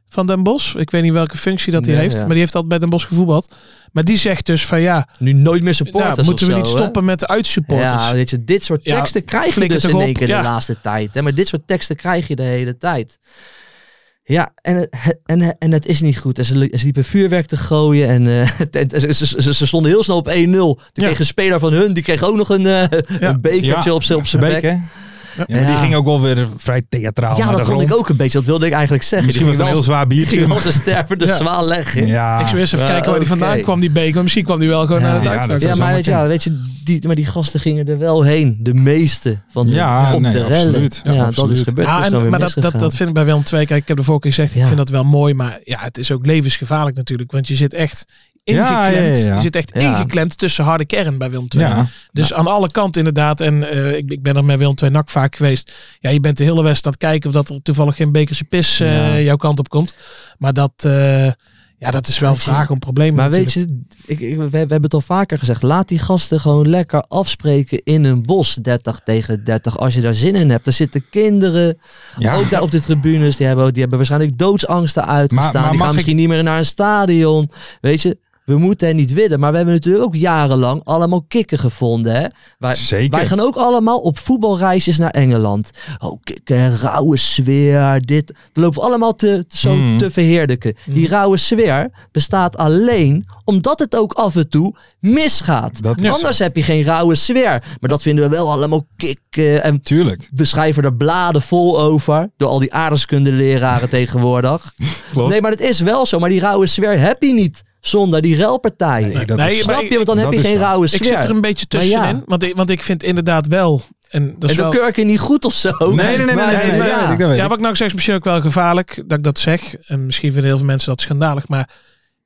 S5: van Den Bos. Ik weet niet welke functie dat hij
S4: Ja,
S5: heeft,
S4: ja.
S5: maar die heeft altijd bij Den Bos gevoetbald. Maar die zegt dus van ja,
S4: Nu nooit meer supporters
S5: nou, moeten we
S4: of zo,
S5: niet
S4: hè?
S5: stoppen met de uitsupporters.
S4: Ja, weet je, dit soort
S5: Ja,
S4: teksten krijg je
S5: flikker
S4: dus
S5: toch
S4: in één
S5: op,
S4: keer
S5: ja.
S4: de laatste tijd. Hè? Maar dit soort teksten krijg je de hele tijd. Ja, en, het- en, en het is niet goed. En ze, li- ze liepen vuurwerk te gooien. En eh, het- ze, ze- ze- ze stonden heel snel op 1-0. Toen
S5: Ja.
S4: kreeg een speler van hun, die kreeg ook nog een, eh, een bekertje
S3: Ja,
S4: op zijn op zijn
S3: Beek,
S4: bek.
S3: hè? Ja, maar die
S4: Ja.
S3: ging ook wel weer vrij
S4: Ja,
S3: theatraal naar de
S4: dat vond
S3: grond.
S4: ik ook een beetje. Dat wilde ik eigenlijk zeggen.
S3: Misschien was
S4: Die
S3: het een heel
S4: ging
S3: zwaar biertje.
S4: wel-
S3: maar-
S4: ging als een stervende
S5: Ja.
S4: zwaar leggen.
S3: Ja.
S5: ik zou eerst even
S4: Ah,
S5: kijken waar die
S4: oké.
S5: vandaan kwam, die beker. Misschien kwam die wel gewoon
S3: Ja,
S5: naar het
S3: ja,
S5: uitvak.
S3: dat
S4: Ja,
S3: zou
S4: maar
S3: zomaar
S4: weet je, wel, weet je die, maar die gasten gingen er wel heen. De meeste van de,
S3: Ja,
S4: om
S3: nee,
S4: te rellen.
S3: absoluut. Ja,
S4: Ja, dat
S3: absoluut.
S4: is gebeurd.
S5: Ja,
S4: Dat is
S5: en-
S4: dan weer
S5: maar dat, dat,
S4: misgegaan.
S5: dat vind ik bij Willem II. Kijk, ik heb de vorige keer gezegd, ik
S4: Ja.
S5: vind dat wel mooi. Maar ja, het is ook levensgevaarlijk natuurlijk. Want je zit echt ingeklemd.
S3: Ja, ja, ja, ja.
S5: Je zit echt
S4: Ja.
S5: ingeklemd tussen harde kern bij Willem II.
S3: Ja.
S5: Dus
S4: Nou.
S5: aan alle kanten inderdaad. En eh, ik, ik ben er met Willem II NAC vaak geweest. Ja, je bent de hele wedstrijd aan het kijken of dat er toevallig geen bekerse pis eh,
S4: Ja.
S5: jouw kant op komt. Maar dat... eh, Ja, dat is wel een
S4: Weet je-
S5: vraag om problemen
S4: Maar weet
S5: natuurlijk.
S4: je, ik, ik, we, we hebben het al vaker gezegd. Laat die gasten gewoon lekker afspreken in een bos. 30 tegen 30. Als je daar zin in hebt. Er zitten kinderen.
S3: Ja.
S4: Ook daar op de tribunes. Die hebben, die hebben waarschijnlijk doodsangsten uitgestaan.
S3: Maar- maar
S4: die
S3: mag
S4: gaan
S3: ik-
S4: misschien niet meer naar een stadion. Weet je, we moeten hen niet willen. Maar we hebben natuurlijk ook jarenlang allemaal kikken gevonden. Hè? Wij,
S3: Zeker.
S4: Wij gaan ook allemaal op voetbalreisjes naar Engeland. Oh, kikken, rauwe sfeer, dit. Dan lopen we allemaal te, te- zo
S3: Mm.
S4: te verheerlijken. Die rauwe sfeer bestaat alleen omdat het ook af en toe misgaat.
S3: Dat is
S4: Anders heb je geen rauwe sfeer. Maar dat vinden we wel allemaal kikken. En
S3: Tuurlijk.
S4: we schrijven er bladen vol over. Door al die aardrijkskundeleraren tegenwoordig.
S3: Klopt.
S4: Nee, maar het is wel zo. Maar die rauwe sfeer heb je niet zonder die rel-partij.
S3: dat
S5: Nee,
S3: is-
S5: maar
S4: Snap je? Want dan heb
S3: Dat
S4: je
S3: is
S4: geen
S3: waar.
S4: rauwe sfeer.
S5: Ik zit er een beetje
S4: Maar ja.
S5: tussenin. want, ik, want ik vind inderdaad wel... En dat
S4: en
S5: is
S4: de
S5: wel,
S4: kurken niet goed of zo.
S3: nee, nee, nee, nee,
S4: Maar-
S3: nee, nee,
S4: maar
S3: dat
S4: ja.
S3: weet ik, dat weet
S5: ja,
S3: ik.
S5: wat ik nou zeg is misschien ook wel gevaarlijk dat ik dat zeg. En misschien vinden heel veel mensen dat schandalig. Maar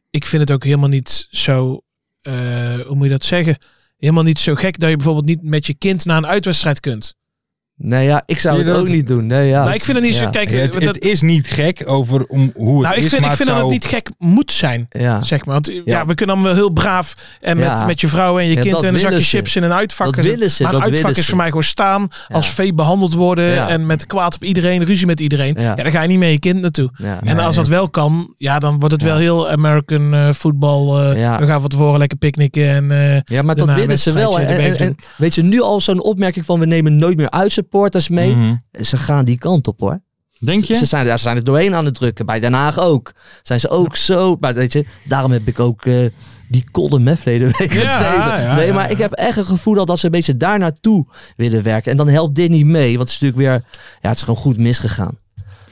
S5: ik vind het ook helemaal niet zo... eh, hoe moet je dat zeggen? Helemaal niet zo gek dat je bijvoorbeeld niet met je kind naar een uitwedstrijd kunt.
S4: Nee, ja, ik zou
S3: Zie
S4: het
S3: je
S4: ook
S3: dat?
S4: niet doen. Nee, ja.
S5: nou, ik vind het niet
S4: ja.
S5: zo... Kijk,
S3: Ja, het,
S5: want dat-
S3: het is niet gek over om, hoe het
S5: nou, ik
S3: is,
S5: vind,
S3: maar
S5: ik vind
S3: het
S5: dat
S3: zou...
S5: het niet gek moet zijn.
S4: Ja.
S5: Zeg maar. Want eh, ja.
S4: Ja.
S5: we kunnen allemaal heel braaf en met,
S4: Ja.
S5: met je vrouw en je
S4: Ja,
S5: kind
S4: dat
S5: en een
S4: willen
S5: zakje
S4: ze.
S5: chips in een uitvak.
S4: Dat
S5: en zo.
S4: willen ze,
S5: Maar een
S4: dat
S5: uitvak
S4: willen
S5: is
S4: ze.
S5: voor mij gewoon staan
S4: Ja.
S5: als vee behandeld worden
S4: Ja.
S5: en met kwaad op iedereen, ruzie met iedereen. Ja.
S4: Ja.
S5: dan ga je niet met je kind naartoe.
S4: Ja.
S5: En
S3: Nee.
S5: als dat wel kan, ja, dan wordt het
S4: Ja.
S5: wel heel American eh, voetbal. eh,
S4: Ja.
S5: We gaan van tevoren lekker picknicken en eh,
S4: Ja, maar dat
S5: daarna een
S4: willen ze wel. En,
S5: wedstrijdje
S4: en-
S5: erbij
S4: en- weet je, nu al zo'n opmerking van we nemen nooit meer uitsupporters mee.
S5: Mm.
S3: Mhm.
S4: Ze gaan die kant op hoor.
S3: Denk
S4: Ze
S3: je?
S4: zijn, ja, ze zijn er doorheen aan het drukken. Bij Den Haag ook. Zijn ze ook zo. Maar weet je, daarom heb ik ook eh, die kolom hè, verleden week
S5: Ja,
S4: geschreven.
S5: ja,
S4: nee,
S5: ja,
S4: maar
S5: ja.
S4: ik heb echt een gevoel dat, dat ze een beetje daar naartoe willen werken. En dan helpt dit niet mee. Want het is natuurlijk weer, ja, het is gewoon goed misgegaan.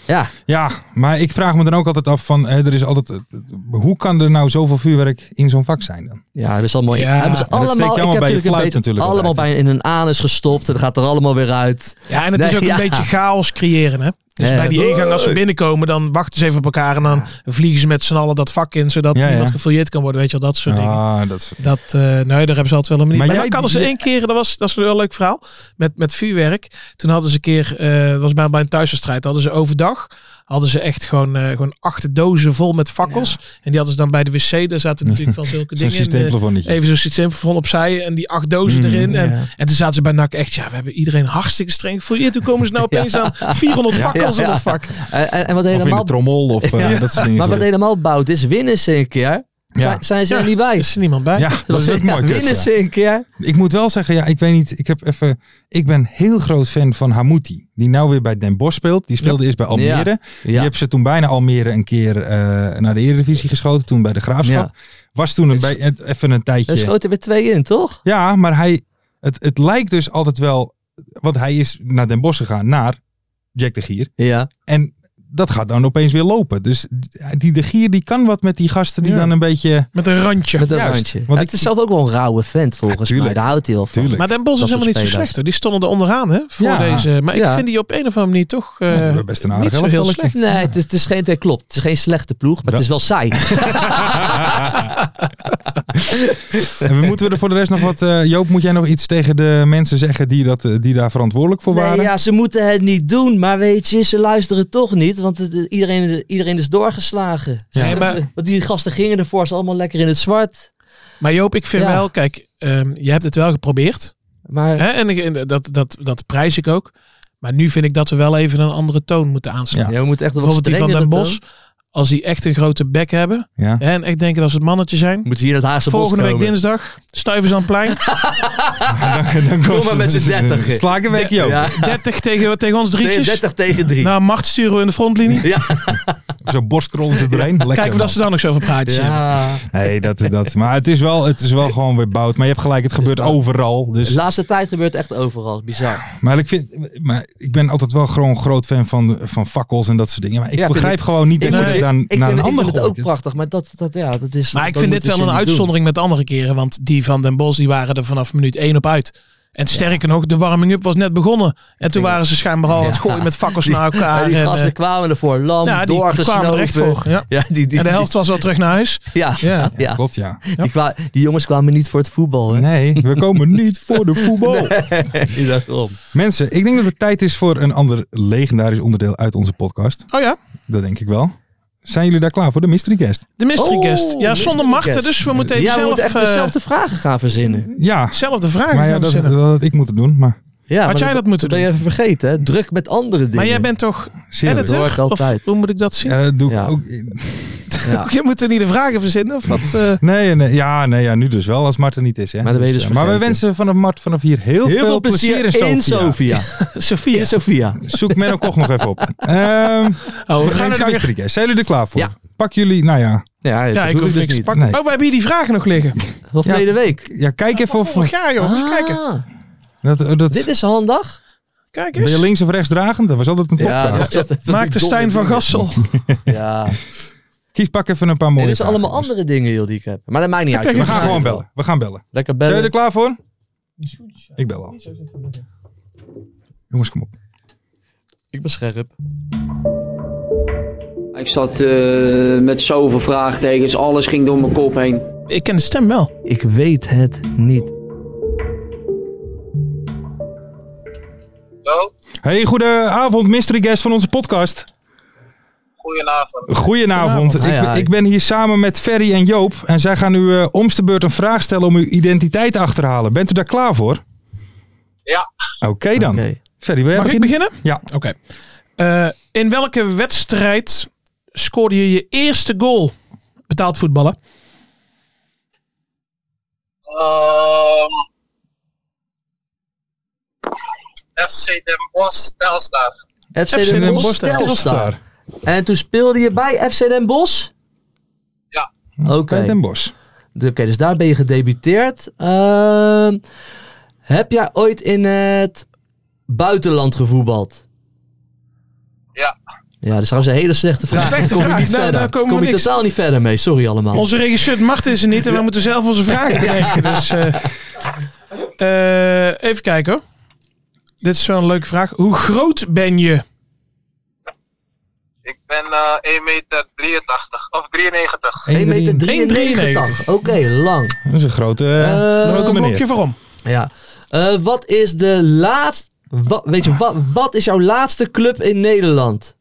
S4: Ja,
S3: Ja, maar ik vraag me dan ook altijd af van, hè, er is altijd, eh, hoe kan er nou zoveel vuurwerk in zo'n vak zijn dan?
S4: Ja, hebben ze allemaal,
S5: Ja,
S4: hebben ze
S5: dat
S3: steekt
S4: allemaal ik
S3: allemaal
S4: heb
S3: bij je
S4: natuurlijk een
S3: fluit
S4: beetje
S3: natuurlijk wel
S4: allemaal bij in een anus gestopt en dat gaat er allemaal weer uit.
S5: Ja, en het is
S4: Nee,
S5: ook een
S4: ja.
S5: beetje chaos creëren, hè? Dus
S4: Ja.
S5: bij die ingang, als ze binnenkomen, dan wachten ze even op elkaar en dan vliegen ze met z'n allen dat vak in, zodat
S3: Ja, ja.
S5: niemand gefouilleerd kan worden, weet je wel, dat soort dingen.
S3: Ah, dat is...
S5: Dat, eh nee, daar hebben ze altijd wel een manier.
S3: Maar
S5: Maar,
S3: jij-
S5: dan hadden ze
S3: die-
S5: één keer, dat was, dat is wel een leuk verhaal, met, met vuurwerk. Toen hadden ze een keer, eh, dat was bij, bij een thuiswedstrijd, hadden ze overdag, hadden ze echt gewoon, eh gewoon acht dozen vol met fakkels. En die hadden ze dan bij de wc, daar zaten natuurlijk van zulke
S3: Zo'n
S5: dingen in. eh,
S3: systeemplafonnetje.
S5: Even zo'n systeem van opzij en die acht dozen
S3: Mm,
S5: erin. En,
S4: ja.
S5: en toen zaten ze bij NAC echt, ja, we hebben iedereen hartstikke streng gefouilleerd. Toen komen ze nou opeens aan 400 fakkels
S4: Ja,
S5: in
S4: ja.
S5: dat vak.
S4: En, en, en wat
S3: Of in de
S4: helemaal,
S3: trommel of eh, dat soort dingen.
S4: maar wat
S3: gebeuren.
S4: helemaal bouwt is winnen ze een keer. Zijn, zijn ze
S5: Ja.
S4: er niet bij?
S5: Er is niemand bij.
S3: Ja, dat is ook
S4: Ja,
S3: mooi. kut,
S4: winnen
S3: ja.
S4: ze een keer.
S3: Ik moet wel zeggen, ja, ik weet niet. Ik, heb even, ik ben heel groot fan van Hamouti. Die nou weer bij Den Bosch speelt. Die speelde eerst bij Almere. Die
S4: Ja.
S3: heb ze toen bijna Almere een keer eh, naar de Eredivisie geschoten. Toen bij de Graafschap. Was toen
S4: Dus-
S3: een, bij, het- even een
S4: Er
S3: tijdje.
S4: schoten weer twee in, toch?
S3: Ja, maar hij, het, het lijkt dus altijd wel... Want hij is naar Den Bosch gegaan. Naar Jack de Gier.
S4: Ja.
S3: En dat gaat dan opeens weer lopen. Dus die de Gier die kan wat met die gasten die
S5: Ja.
S3: dan een beetje...
S5: Met een randje.
S4: Met een
S3: Juist.
S4: randje.
S3: Want
S4: Ja,
S3: ik-
S4: het is zelf ook wel een rauwe vent volgens mij.
S3: tuurlijk.
S4: Daar houdt hij wel van.
S3: Tuurlijk.
S5: Maar Den Bos is
S4: Dat
S5: helemaal
S4: soort
S5: niet zo
S4: spelers.
S5: slecht hoor. Die stonden er onderaan hè, voor
S3: Ja.
S5: deze. Maar ik
S4: Ja.
S5: vind die op een of andere manier toch eh,
S3: Ja, we hebben best een aardig
S5: niet zo heel
S3: elftalletje.
S5: slecht.
S4: Nee, het is, het is geen, het klopt. Het is geen slechte ploeg, maar het
S3: Ja.
S4: is wel saai.
S3: En we moeten we er voor de rest nog wat... eh, Joop, moet jij nog iets tegen de mensen zeggen die, dat, eh, die daar verantwoordelijk voor waren?
S4: Nee, ja, ze moeten het niet doen, maar weet je, ze luisteren toch niet, want het- het- iedereen, iedereen is doorgeslagen.
S5: Ja.
S4: Ze-
S5: maar-
S4: ze- want die gasten gingen ervoor, ze allemaal lekker in het zwart.
S5: Maar Joop, ik vind
S4: Ja.
S5: wel, kijk, ehm, je hebt het wel geprobeerd.
S4: Maar
S5: Hè? En, ik- en dat, dat, dat prijs ik ook. Maar nu vind ik dat we wel even een andere toon moeten aanslaan.
S4: ja, we moeten echt
S5: Bijvoorbeeld die van
S4: strengere
S5: Den
S4: toon.
S5: Bos. Als die echt een grote bek hebben.
S3: Ja.
S5: Hè? En echt denken dat ze het mannetje zijn.
S4: Moeten ze hier naar het Haagse
S5: Volgende
S4: Bos
S5: week
S4: komen.
S5: dinsdag, stuivers aan het plein.
S3: Dan
S4: Kom maar met z'n dertigen.
S3: Sla ik een weekje ook.
S4: Ja,
S5: 30 tegen, tegen ons drietjes.
S4: 30 tegen 3.
S5: Nou, macht sturen we in de frontlinie.
S3: Zo borstkrollen ze erheen. Lekker
S5: Kijken we
S3: man.
S5: dat ze daar nog zo over praten.
S4: ja.
S3: Nee, dat, dat. Maar het is, wel, het is wel gewoon weer bout. Maar je hebt gelijk, het gebeurt overal.
S4: De
S3: Dus,
S4: laatste tijd gebeurt echt overal. Bizar.
S3: maar, ik vind, maar ik ben altijd wel gewoon groot fan van, van fakkels en dat soort dingen. Maar ik
S4: Ja, vind
S3: begrijp
S4: ik-
S3: gewoon niet dat
S4: ik
S3: je
S4: vind-
S3: dan
S4: Ik
S3: naar
S4: vind,
S3: een
S4: het- ik
S3: ander
S4: vind het ook
S3: gooit.
S4: prachtig, maar dat, dat, ja, dat is...
S5: Maar ik
S4: dat
S5: vind dit
S4: moeten
S5: wel
S4: ze
S5: een
S4: niet doen.
S5: uitzondering met andere keren. Want die van Den Bos die waren er vanaf minuut 1 op uit. En sterker nog, de warming-up was net begonnen. En toen
S4: denk
S5: waren ze schijnbaar al aan het gooien met fakkels naar
S4: Ja,
S5: elkaar.
S4: die
S5: en, eh,
S4: gasten kwamen ervoor, lam,
S5: ja, die die kwamen er echt
S4: doorgesnoven.
S5: voor. Ja.
S4: Ja, die, die,
S5: En de helft was al terug naar huis.
S4: Ja,
S5: Ja.
S4: ja.
S3: Ja, Klopt, ja.
S4: Die, kwa- die jongens kwamen niet voor het voetbal, hè?
S3: Nee, we komen niet voor de voetbal.
S4: Nee. Daarom.
S3: Mensen, ik denk dat het tijd is voor een ander legendarisch onderdeel uit onze podcast.
S5: Oh ja,
S3: Dat denk ik wel. Zijn jullie daar klaar voor de mystery guest?
S5: De mystery
S4: Oh,
S5: guest. Ja,
S4: mystery
S5: zonder machten,
S4: guest.
S5: dus we moeten even
S4: Jij
S5: zelf,
S4: moet echt
S5: eh,
S4: dezelfde vragen gaan verzinnen.
S3: Ja,
S5: zelf de vragen
S3: maar ja,
S5: gaan
S3: dat,
S5: verzinnen.
S3: dat had ik moeten doen. Maar
S4: Ja,
S5: Had
S4: maar
S5: jij dat moeten
S4: ben je
S5: doen?
S4: even vergeten, hè? Druk met andere dingen.
S5: Maar jij bent toch
S3: serieus.
S4: dat hoor ik
S5: editor? Of
S4: altijd.
S5: hoe moet ik dat zien?
S3: Ja, dat doe ik
S4: Ja.
S3: ook.
S4: Ja. Oh,
S5: Je moet er niet de vragen verzinnen of wat? eh?
S3: Nee, nee, ja, nee, ja, nu dus wel, als Mart er niet is. Hè. eh,
S4: Maar dan ben je dus
S3: maar wij
S4: vergeten.
S3: wensen vanaf Mart vanaf hier heel,
S4: Heel veel plezier in Sofia.
S5: Sophia.
S4: In Sofia.
S3: Zoek Menno Koch nog even op. Ehm,
S5: Oh,
S3: we gaan naar de mystery guest. Zijn jullie er klaar voor?
S4: Ja.
S3: Pak jullie, nou ja.
S4: Ja, dat
S5: Ja, ik
S4: doe
S5: hoef
S4: dus
S5: niks te
S4: niet.
S5: pakken.
S3: Nee.
S5: Oh, we hebben hier die vragen nog liggen.
S4: Van
S3: Ja.
S4: verleden week.
S3: ja, kijk even of...
S5: Vorig jaar, joh. Moet je kijken.
S4: Ah,
S3: Dat, dat,
S4: dit is handig.
S5: Kijk
S3: ben je
S5: eens.
S3: links of rechts dragend? Dat was altijd een topvraag.
S4: dat- dat- dat-
S5: Maakte
S4: domme
S5: Stijn van
S4: dingen.
S5: Gassel.
S4: Ja. Nee,
S3: Kies, pak even een paar mooie
S4: dit zijn
S3: vragen.
S4: allemaal andere dingen, joh, die ik heb. Maar dat maakt niet uit.
S3: We
S4: joh.
S3: gaan gewoon bellen. We gaan bellen.
S4: Lekker
S3: Zijn jullie
S4: bellen.
S3: er klaar voor? Ik bel al. Jongens, kom op.
S4: Ik ben scherp.
S7: Ik zat eh, met zoveel vraagtekens, alles ging door mijn kop heen.
S5: Ik ken de stem wel.
S4: Ik weet het niet.
S6: Hallo,
S3: Hey, goedenavond, mystery guest van onze podcast.
S6: goedenavond.
S3: Goedenavond. Ik,
S4: Hi,
S3: ben-
S4: hi.
S3: ik ben hier samen met Ferry en Joop. En zij gaan u eh, omste beurt een vraag stellen om uw identiteit te achterhalen. Bent u daar klaar voor?
S6: Ja.
S3: Oké dan.
S4: Oké.
S3: Ferry, wil jij
S5: Mag ik
S3: beginnen?
S5: beginnen?
S3: Ja.
S5: Oké. Eh, in welke wedstrijd scoorde je je eerste goal? Betaald voetballen.
S6: Ehm, FC Den Bosch Telstar.
S4: FC Den Bosch Telstar. En toen speelde je bij FC Den Bosch?
S6: Ja.
S4: Oké.
S3: Bij Den Bosch.
S4: Oké, dus daar ben je gedebuteerd. Ehm, heb jij ooit in het buitenland gevoetbald?
S6: Ja.
S4: Ja, dat is trouwens een hele slechte vraag.
S5: Slechte
S4: Daar kom je
S5: vraag.
S4: niet
S5: Nou,
S4: verder.
S5: daar komen we
S4: kom je
S5: niks.
S4: totaal niet verder mee. Sorry allemaal.
S5: Onze regisseur Marten is er niet en wij moeten zelf onze vragen bedenken. Dus, eh, eh, even kijken hoor. Dit is wel een leuke vraag. Hoe groot ben je?
S6: Ik ben eh 1 meter 83 of 93.
S4: 1,93 meter.
S5: 1,93.
S4: 93. Oké, lang.
S3: Dat is een grote,
S4: Eh,
S3: grote
S5: Een blokje
S3: meneer.
S5: voorom.
S4: Ja. Eh, wat is de laatste... weet je, wat, wat is jouw laatste club in Nederland?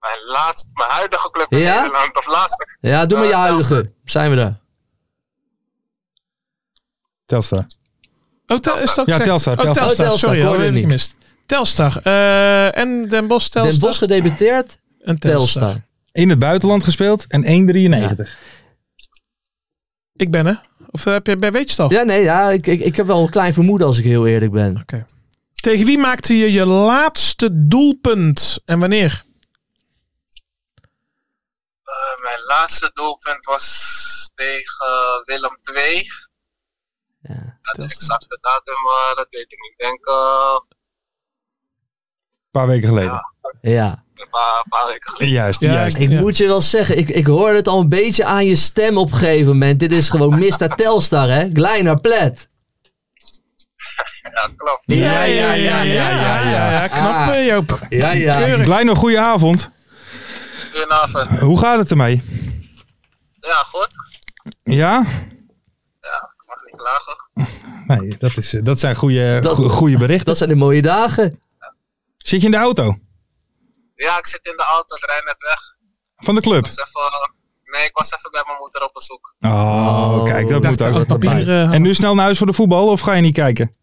S6: Mijn, laatste, mijn huidige club in
S4: Ja?
S6: Nederland, of laatste.
S4: Ja, doe maar je
S6: Eh,
S4: huidige. Zijn we daar.
S3: Telstar.
S5: Oh, tel, is dat
S3: Ja,
S5: gezegd?
S3: Telstar,
S5: Oh,
S3: Telstar.
S5: Telstar.
S4: Oh, Telstar,
S5: Sorry,
S4: ik
S5: dat
S4: hoorde
S5: heb ik
S4: het niet.
S5: gemist. Telstar. eh, en Den Bosch, Telstar.
S4: Den Bosch gedebuteerd.
S5: en Telstar.
S4: Telstar.
S3: In het buitenland gespeeld en 1,93.
S5: Ik ben hè? Of eh, heb je, weet je het al?
S4: Ja, nee, ja, ik, ik, ik heb wel een klein vermoeden als ik heel eerlijk ben.
S5: Tegen wie maakte je je laatste doelpunt en wanneer?
S6: Eh, mijn laatste doelpunt was tegen eh, Willem II. De exacte datum, eh, dat weet ik niet. Ik denk eh,
S3: Een paar weken geleden.
S4: Ja.
S6: een paar, een paar weken geleden.
S3: Juist,
S5: Ja,
S3: juist.
S4: Ik
S5: Ja.
S4: moet je wel zeggen, ik, ik hoor het al een beetje aan je stem op een gegeven moment. Dit is gewoon Mr. Telstar, hè? Kleiner plet.
S6: Ja, klopt.
S4: Ja, ja, ja, ja, ja, ja.
S5: knap
S4: Ah.
S5: eh, Joop.
S4: Ja, ja.
S5: Keurig.
S3: Kleine goede avond.
S6: Goedenavond.
S3: Hoe gaat het ermee?
S6: Ja, goed.
S3: Ja?
S6: Ja, ik mag niet klagen.
S3: Nee, dat, is, eh, dat zijn goede,
S4: Dat-
S3: goe- goede berichten.
S4: Dat zijn de mooie dagen.
S3: Zit je in de auto?
S6: Ja, ik zit in de auto, ik rijd net weg.
S3: Van de club?
S6: Ik was even, nee, ik was even bij mijn moeder op bezoek.
S3: Oh, kijk, dat moet ook.
S5: Dacht, papier, eh,
S3: En nu snel naar huis voor de voetbal of ga je niet kijken?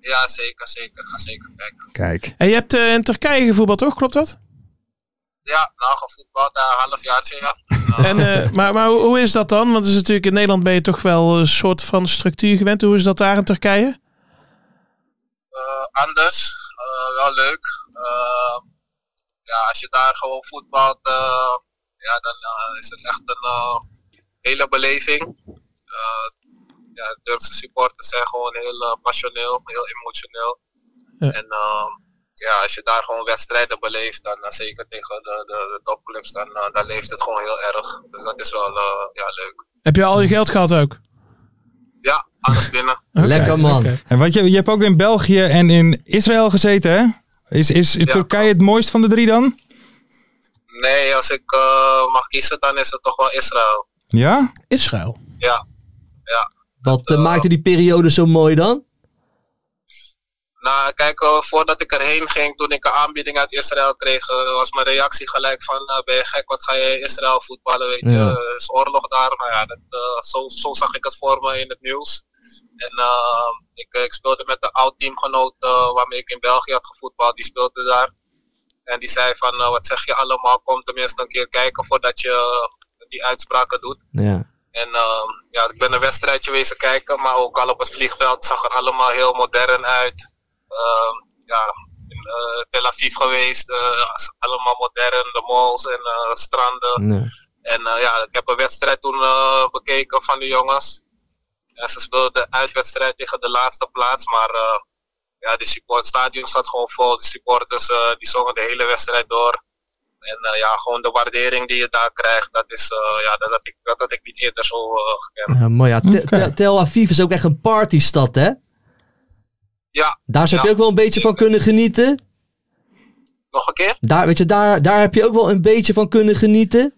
S6: Ja, zeker, zeker. Ik ga zeker kijken.
S3: Kijk.
S5: en je hebt eh, in Turkije gevoetbald, toch? Klopt dat?
S6: Ja, nou, gevoetbald, daar een halfjaartje, ja.
S5: En, eh, maar maar hoe, hoe is dat dan? Want het is natuurlijk in Nederland ben je toch wel een soort van structuur gewend. Hoe is dat daar in Turkije?
S6: Eh, anders, eh, wel leuk. Eh, ja, als je daar gewoon voetbalt, eh, ja, dan eh, is het echt een eh, hele beleving. Eh ja, de Turkse supporters zijn gewoon heel eh, passioneel, heel emotioneel.
S5: Ja.
S6: En eh, ja, als je daar gewoon wedstrijden beleeft, dan eh, zeker tegen de, de, de topclubs, dan, eh, dan leeft het gewoon heel erg. Dus dat is wel eh, ja, leuk.
S5: Heb je al je geld gehad ook?
S6: Ja, alles binnen.
S5: Oké,
S4: Lekker man.
S5: oké.
S3: En want je, je hebt ook in België en in Israël gezeten, hè? Is, is Turkije het mooist van de drie dan?
S6: Nee, als ik eh, mag kiezen, dan is het toch wel Israël.
S3: Ja?
S5: Israël.
S6: Ja.
S4: Wat eh, maakte die periode zo mooi dan?
S6: Nou, kijk, eh, voordat ik erheen ging, toen ik een aanbieding uit Israël kreeg, eh, was mijn reactie gelijk van, eh, ben je gek, wat ga je in Israël voetballen, weet je,
S4: Ja.
S6: Er is oorlog daar. Nou ja, dat, eh, zo, zo zag ik het voor me in het nieuws. En eh, ik, ik speelde met een oud teamgenoot eh, waarmee ik in België had gevoetbald, die speelde daar. En die zei van, eh, wat zeg je allemaal, kom tenminste een keer kijken voordat je eh, die uitspraken doet.
S4: Ja.
S6: En ehm, ja, ik ben een wedstrijdje wezen kijken, maar ook al op het vliegveld zag er allemaal heel modern uit. Ehm, ja, in eh, Tel Aviv geweest, eh, allemaal modern, de malls en eh, stranden.
S4: Nee.
S6: En eh, ja, ik heb een wedstrijd toen eh, bekeken van de jongens. En ze speelden een uitwedstrijd tegen de laatste plaats, maar eh, ja, de support, het stadion zat gewoon vol. De supporters eh, die zongen de hele wedstrijd door. En eh, ja, gewoon de waardering die je daar krijgt, dat, is, eh, ja, dat, had, ik, dat had ik niet eerder zo eh, gekend.
S4: Ja, mooi. Ja, Te-
S3: Oké.
S4: Te- Tel Aviv is ook echt een partystad, hè?
S6: Ja,
S4: Daar zou je
S6: Ja.
S4: ook wel een beetje van kunnen genieten.
S6: nog een keer.
S4: Daar, weet je, daar, daar heb je ook wel een beetje van kunnen genieten.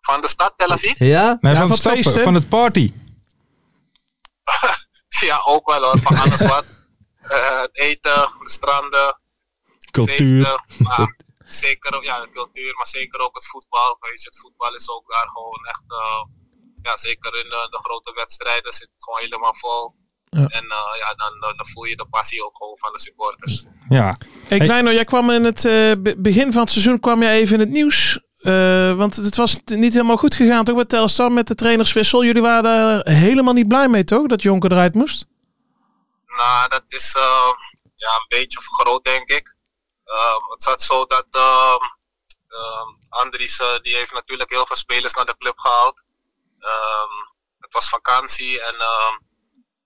S6: Van de stad Tel Aviv?
S4: Ja?
S3: Nee, van,
S5: Ja, van
S3: het stappen,
S5: feesten.
S3: van het party.
S6: Ja, ook wel hoor, van alles wat. Eh, het eten, de stranden,
S3: Cultuur.
S6: feesten, maar zeker ook ja, de cultuur, maar zeker ook het voetbal. Weet je, het voetbal is ook daar gewoon echt, eh, ja, zeker in de, de grote wedstrijden zit het gewoon helemaal vol.
S5: Ja.
S6: En eh, ja, dan, dan, dan voel je de passie ook gewoon van de supporters.
S3: Ja. Hey.
S5: Hey, Kleino, jij kwam in het eh, be- begin van het seizoen kwam jij even in het nieuws. Eh, want het was t- niet helemaal goed gegaan toch met Telstar, met de trainerswissel. Jullie waren daar helemaal niet blij mee toch, dat Jonker eruit moest?
S6: Nou, dat is eh, ja, een beetje vergroot, denk ik. Ehm, het zat zo dat ehm, ehm, Andries eh, die heeft natuurlijk heel veel spelers naar de club gehaald. Ehm, het was vakantie en ehm,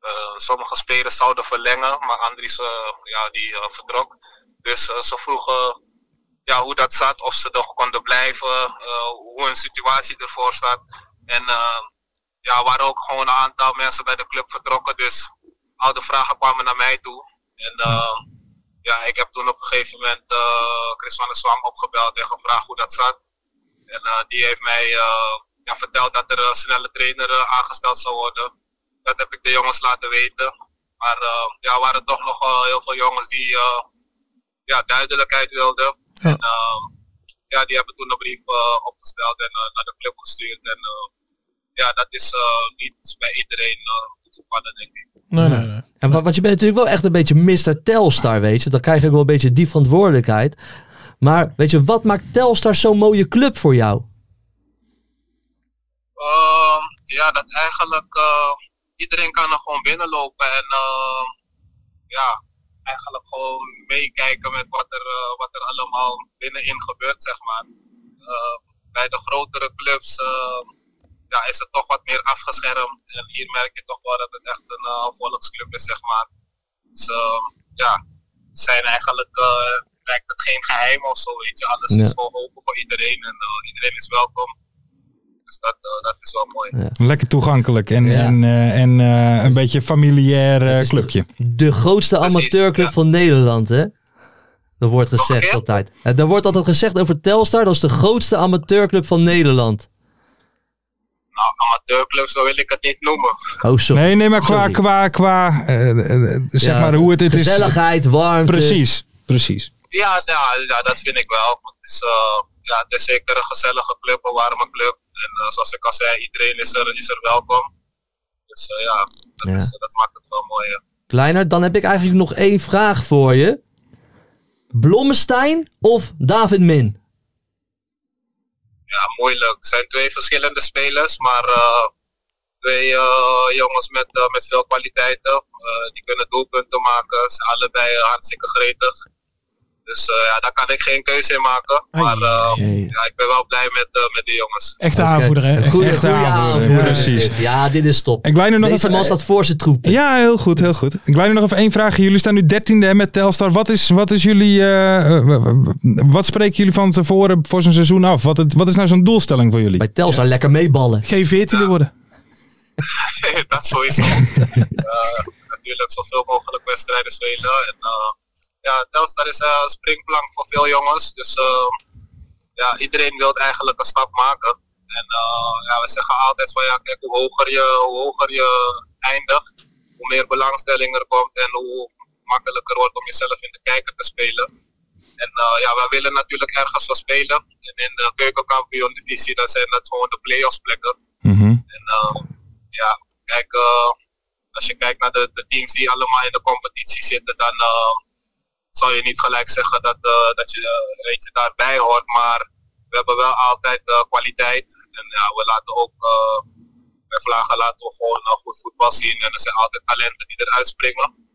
S6: eh, sommige spelers zouden verlengen, maar Andries eh, ja, die, eh, vertrok. Dus eh, ze vroegen ja, hoe dat zat, of ze nog konden blijven, eh, hoe hun situatie ervoor staat. En eh, ja, er waren ook gewoon een aantal mensen bij de club vertrokken, dus al de vragen kwamen naar mij toe. En eh, ja, ik heb toen op een gegeven moment eh, Chris van der Zwang opgebeld en gevraagd hoe dat zat. En eh, die heeft mij eh, ja, verteld dat er een snelle trainer eh, aangesteld zou worden. Dat heb ik de jongens laten weten. Maar eh, ja, er waren toch nog eh, heel veel jongens die eh, ja, duidelijkheid wilden.
S5: Ja.
S6: En, eh, ja, die hebben toen een brief eh, opgesteld en eh, naar de club gestuurd. En eh, ja, dat is eh, niet bij iedereen eh, goed gevallen, denk ik.
S5: Nee, nee, nee.
S4: Ja, wa- want je bent natuurlijk wel echt een beetje Mr. Telstar, weet je. Dan krijg je ook wel een beetje die verantwoordelijkheid. Maar weet je, wat maakt Telstar zo'n mooie club voor jou?
S6: Ehm, ja, dat eigenlijk eh, iedereen kan er gewoon binnenlopen en ehm, ja, eigenlijk gewoon meekijken met wat er, eh, wat er allemaal binnenin gebeurt, zeg maar. Eh, bij de grotere clubs ehm, ja, is het toch wat meer afgeschermd en hier merk je toch wel dat het echt een eh, volksclub is, zeg maar. Dus ehm, ja, het zijn eigenlijk eh, lijkt het geen geheim of zo, weet je. Alles
S4: Ja.
S6: is gewoon open voor iedereen en eh, iedereen is welkom. Dus dat, eh, dat is wel mooi.
S3: Lekker toegankelijk en,
S4: Ja.
S3: en, eh, en eh, een beetje familiair eh,
S4: Het is
S3: clubje.
S4: De grootste
S6: Precies,
S4: amateurclub
S6: ja.
S4: van Nederland, hè? Dat wordt
S6: een
S4: gezegd
S6: keer?
S4: altijd. Ja, Er wordt altijd gezegd over Telstar, dat is de grootste amateurclub van Nederland.
S6: nou, amateurclub, zo wil ik het niet noemen.
S4: Oh, sorry.
S3: Nee, nee, maar qua,
S4: Sorry.
S3: qua, qua, eh, eh, eh, zeg
S4: Ja,
S3: maar hoe het, het is.
S4: Gezelligheid, warmte.
S3: Precies, precies.
S6: Ja, ja, ja, dat vind ik wel. Want Het is, eh, ja, het is zeker een gezellige club, een warme club. En eh, zoals ik al zei, iedereen is er, is er welkom. Dus eh, ja, dat,
S4: Ja.
S6: Is, dat maakt het wel mooi. eh. ja.
S4: Kleiner, dan heb ik eigenlijk nog één vraag voor je. Blommestein of David Min?
S6: Ja, moeilijk. Het zijn twee verschillende spelers, maar eh, twee eh, jongens met, eh, met veel kwaliteiten. Eh, die kunnen doelpunten maken. Ze zijn allebei eh, hartstikke gretig. Dus eh, ja, daar kan ik geen keuze in maken. Maar eh, ja, ik ben wel blij met, eh, met die jongens.
S5: Echte
S4: Oké.
S5: aanvoerder, hè?
S4: Een
S5: Echt.
S4: goede,
S3: echte
S4: goede
S3: aanvoerder,
S4: aanvoerder.
S3: precies.
S4: dit. Ja, dit is top.
S3: En Kleiner nog
S4: Deze
S3: even-
S4: man staat voor zijn troep.
S3: Ja, heel goed, heel goed. Ik leid nog even één vraagje. Jullie staan nu dertiende met Telstar. Wat is, wat is jullie, eh, eh, w- w- wat spreken jullie van tevoren voor zo'n seizoen af? Wat, het, wat is nou zo'n doelstelling voor jullie?
S4: Bij Telstar lekker meeballen.
S5: Geen veertiende worden.
S6: dat sowieso. Eh, natuurlijk zoveel mogelijk wedstrijden spelen. En, eh, ja, Telstar is eh, een springplank voor veel jongens. Dus eh, ja, iedereen wil eigenlijk een stap maken. En eh, ja, we zeggen altijd van ja, kijk, hoe hoger je, hoe hoger je eindigt, hoe meer belangstelling er komt en hoe makkelijker wordt om jezelf in de kijker te spelen. En eh, ja, wij willen natuurlijk ergens voor spelen. En in de keukenkampioen-divisie, dan zijn dat gewoon de play-offs plekken.
S3: Mhm.
S6: En eh, ja, kijk, eh, als je kijkt naar de, de teams die allemaal in de competitie zitten, dan eh, zal je niet gelijk zeggen dat, eh, dat je eh, eentje daarbij hoort. Maar we hebben wel altijd eh, kwaliteit. En ja, we laten ook, eh, bij Vlagen laten we gewoon eh, goed voetbal zien. En er zijn altijd talenten die eruit springen.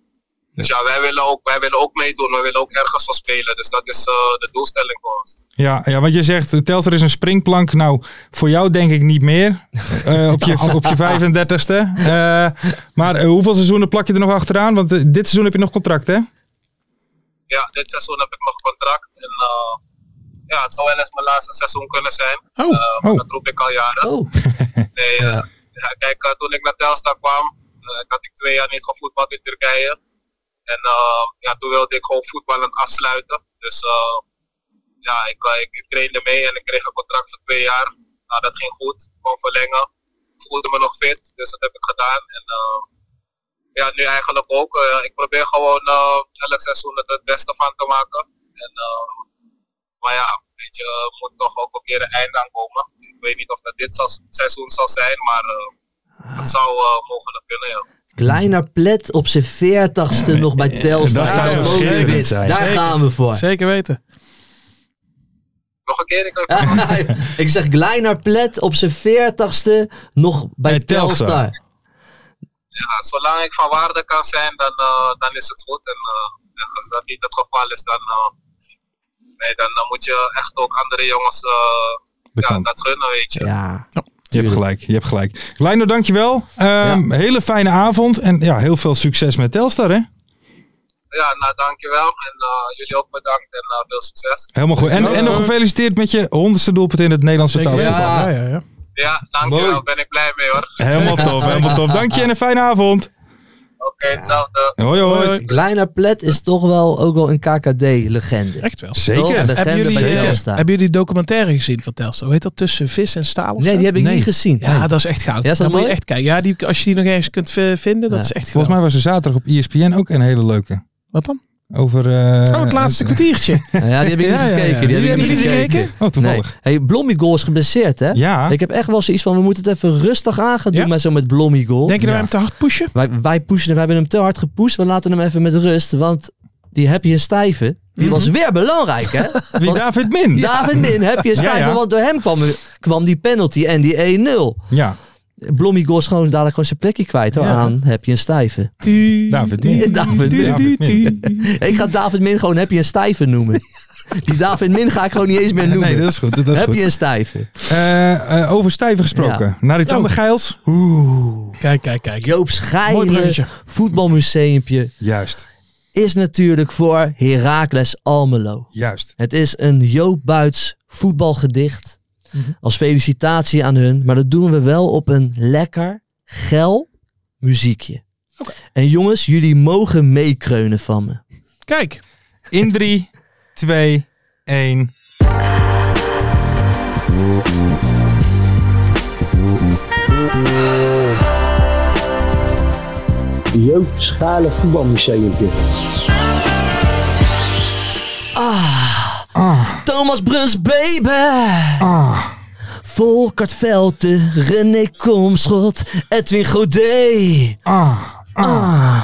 S6: Dus ja, wij willen ook, wij willen ook meedoen. Wij willen ook ergens van spelen. Dus dat is eh, de doelstelling voor ons.
S3: Ja, ja, want je zegt, eh, Telfer is een springplank. Nou, voor jou denk ik niet meer. Eh, op, je, op je 35ste. Eh, maar eh, hoeveel seizoenen plak je er nog achteraan? Want eh, dit seizoen heb je nog contract, hè?
S6: Ja, dit seizoen heb ik nog contract. En eh, ja, het zou wel eens mijn laatste seizoen kunnen zijn.
S5: Oh,
S6: Eh, maar
S3: Oh.
S6: Dat roep ik al jaren.
S4: Oh,
S6: Nee, eh, ja, kijk, eh, toen ik naar Telstar kwam, eh, had ik twee jaar niet gevoetbald in Turkije. En eh, ja, toen wilde ik gewoon voetballend afsluiten. Dus eh, ja, ik, eh, ik trainde mee en ik kreeg een contract voor twee jaar. Nou, dat ging goed. Gewoon verlengen. Ik voelde me nog fit, dus dat heb ik gedaan. En eh, ja, nu eigenlijk ook. Eh, ik probeer gewoon eh, elk seizoen het, het beste van te maken. En, eh, maar ja, weet je, er moet toch ook een keer een einde aan komen. Ik weet niet of dat dit zal- seizoen zal zijn, maar eh, het zou eh, mogelijk kunnen, ja.
S4: kleiner plet op zijn 40ste nog bij Telstar.
S3: dat
S5: zou
S4: Ah,
S5: schitterend
S4: mooi dit.
S3: zijn.
S4: Daar
S5: Zeker.
S4: gaan we voor.
S5: zeker weten.
S6: Nog een keer, ik heb
S4: Ah. ik zeg kleiner plet op zijn 40ste nog bij,
S3: Bij Telstar.
S4: Telstar.
S6: ja, zolang ik van waarde kan zijn, dan, eh, dan is het goed. En eh, ja, als dat niet het geval is, dan, eh, nee, dan, eh, moet je echt ook andere jongens eh,
S3: De
S6: ja,
S3: kant.
S6: dat gunnen, weet je.
S4: Ja.
S3: Je hebt gelijk, je hebt gelijk. Leino, dankjewel. Ehm Hele fijne avond. En ja, heel veel succes met Telstar, hè?
S6: Ja, nou dankjewel. En eh, jullie ook bedankt en eh, veel succes.
S3: Helemaal goed. En, en nog gefeliciteerd met je honderdste doelpunt in het Nederlandse
S5: Zeker weten.
S3: taalvoetbal.
S4: Ah.
S5: Ja, ja, ja.
S6: Ja, dankjewel.
S3: Mooi.
S6: Ben ik blij mee hoor.
S3: Helemaal tof, helemaal tof. Dank je en een fijne avond.
S6: Oké, hetzelfde.
S3: Hoi,
S5: Hoi,
S3: hoi.
S5: hoi.
S4: Kleiner plet is toch wel ook wel een KKD-legende.
S5: Echt wel.
S4: Wel een
S3: Zeker.
S4: legende
S5: Hebben jullie,
S4: bij
S5: eh,
S4: Telstar.
S5: hebben jullie die documentaire gezien van Telstar? Weet dat tussen vis en staal? of
S4: Nee,
S5: zo?
S4: die heb ik niet gezien.
S5: Ja,
S4: Nee.
S5: dat is echt goud.
S4: Ja, is dat
S5: Dan moet je
S4: mooi?
S5: echt kijken. Ja, die, als je die nog ergens kunt eh, vinden, dat
S4: Ja.
S5: is echt
S3: Volgens
S5: geweldig.
S3: mij was er zaterdag op E ESPN ook een hele leuke.
S5: Wat dan?
S3: Over... eh,
S5: Oh, het laatste kwartiertje.
S4: Ja, die heb ik
S5: Ja, ja,
S4: niet
S5: ja.
S4: gekeken. Die
S5: Jullie
S4: heb ik
S5: hebben
S4: niet
S5: niet
S4: gekeken.
S5: gekeken?
S3: Oh,
S4: Nee.
S3: toevallig.
S4: Hey, Blommigol is geblesseerd, hè?
S3: Ja.
S4: Ik heb echt wel zoiets van, we moeten het even rustig aan gaan doen
S5: Ja?
S4: met zo met Blommigol.
S5: Denk je dat wij
S3: Ja.
S5: hem te hard pushen?
S4: Wij, wij pushen hem, we hebben hem te hard gepusht. We laten hem even met rust, want die heb je een stijve. Die
S3: Mhm.
S4: was weer belangrijk, hè?
S3: Wie
S4: Want-
S3: David Min?
S4: David Min heb je een
S3: Ja,
S4: stijve,
S3: ja.
S4: want door hem kwam, kwam die penalty en die 1-0.
S3: Ja,
S4: Blommigol is gewoon dadelijk gewoon zijn plekje kwijt. Hoor.
S5: Ja.
S4: Aan heb je een stijve. Nou,
S3: David Min.
S4: David
S3: Min.
S5: Du- du- du-
S4: Ik ga David Min gewoon heb je een stijve noemen. Die David Min ga ik gewoon niet eens meer noemen.
S3: Nee, dat is goed. Dat is
S4: heb
S3: goed.
S4: je een stijve.
S3: Eh, eh, over stijven gesproken. Naar die Tande Geils.
S5: Kijk, kijk, kijk.
S4: Joop
S5: Mooi
S4: Schijnen,
S5: bruggetje.
S4: voetbalmuseumpje,
S3: Juist,
S4: is natuurlijk voor Heracles Almelo.
S3: juist.
S4: Het is een Joop Buits voetbalgedicht. Als felicitatie aan hun. Maar dat doen we wel op een lekker, geil muziekje. En jongens, jullie mogen meekreunen van me.
S5: Kijk.
S3: In 3, 2, 1.
S8: Joop Schalen Voetbalmuseumpje.
S4: Thomas Bruns, baby!
S3: Ah,
S4: Volkert Velte, René Komschot, Edwin Godet.
S3: ah.
S4: Ah.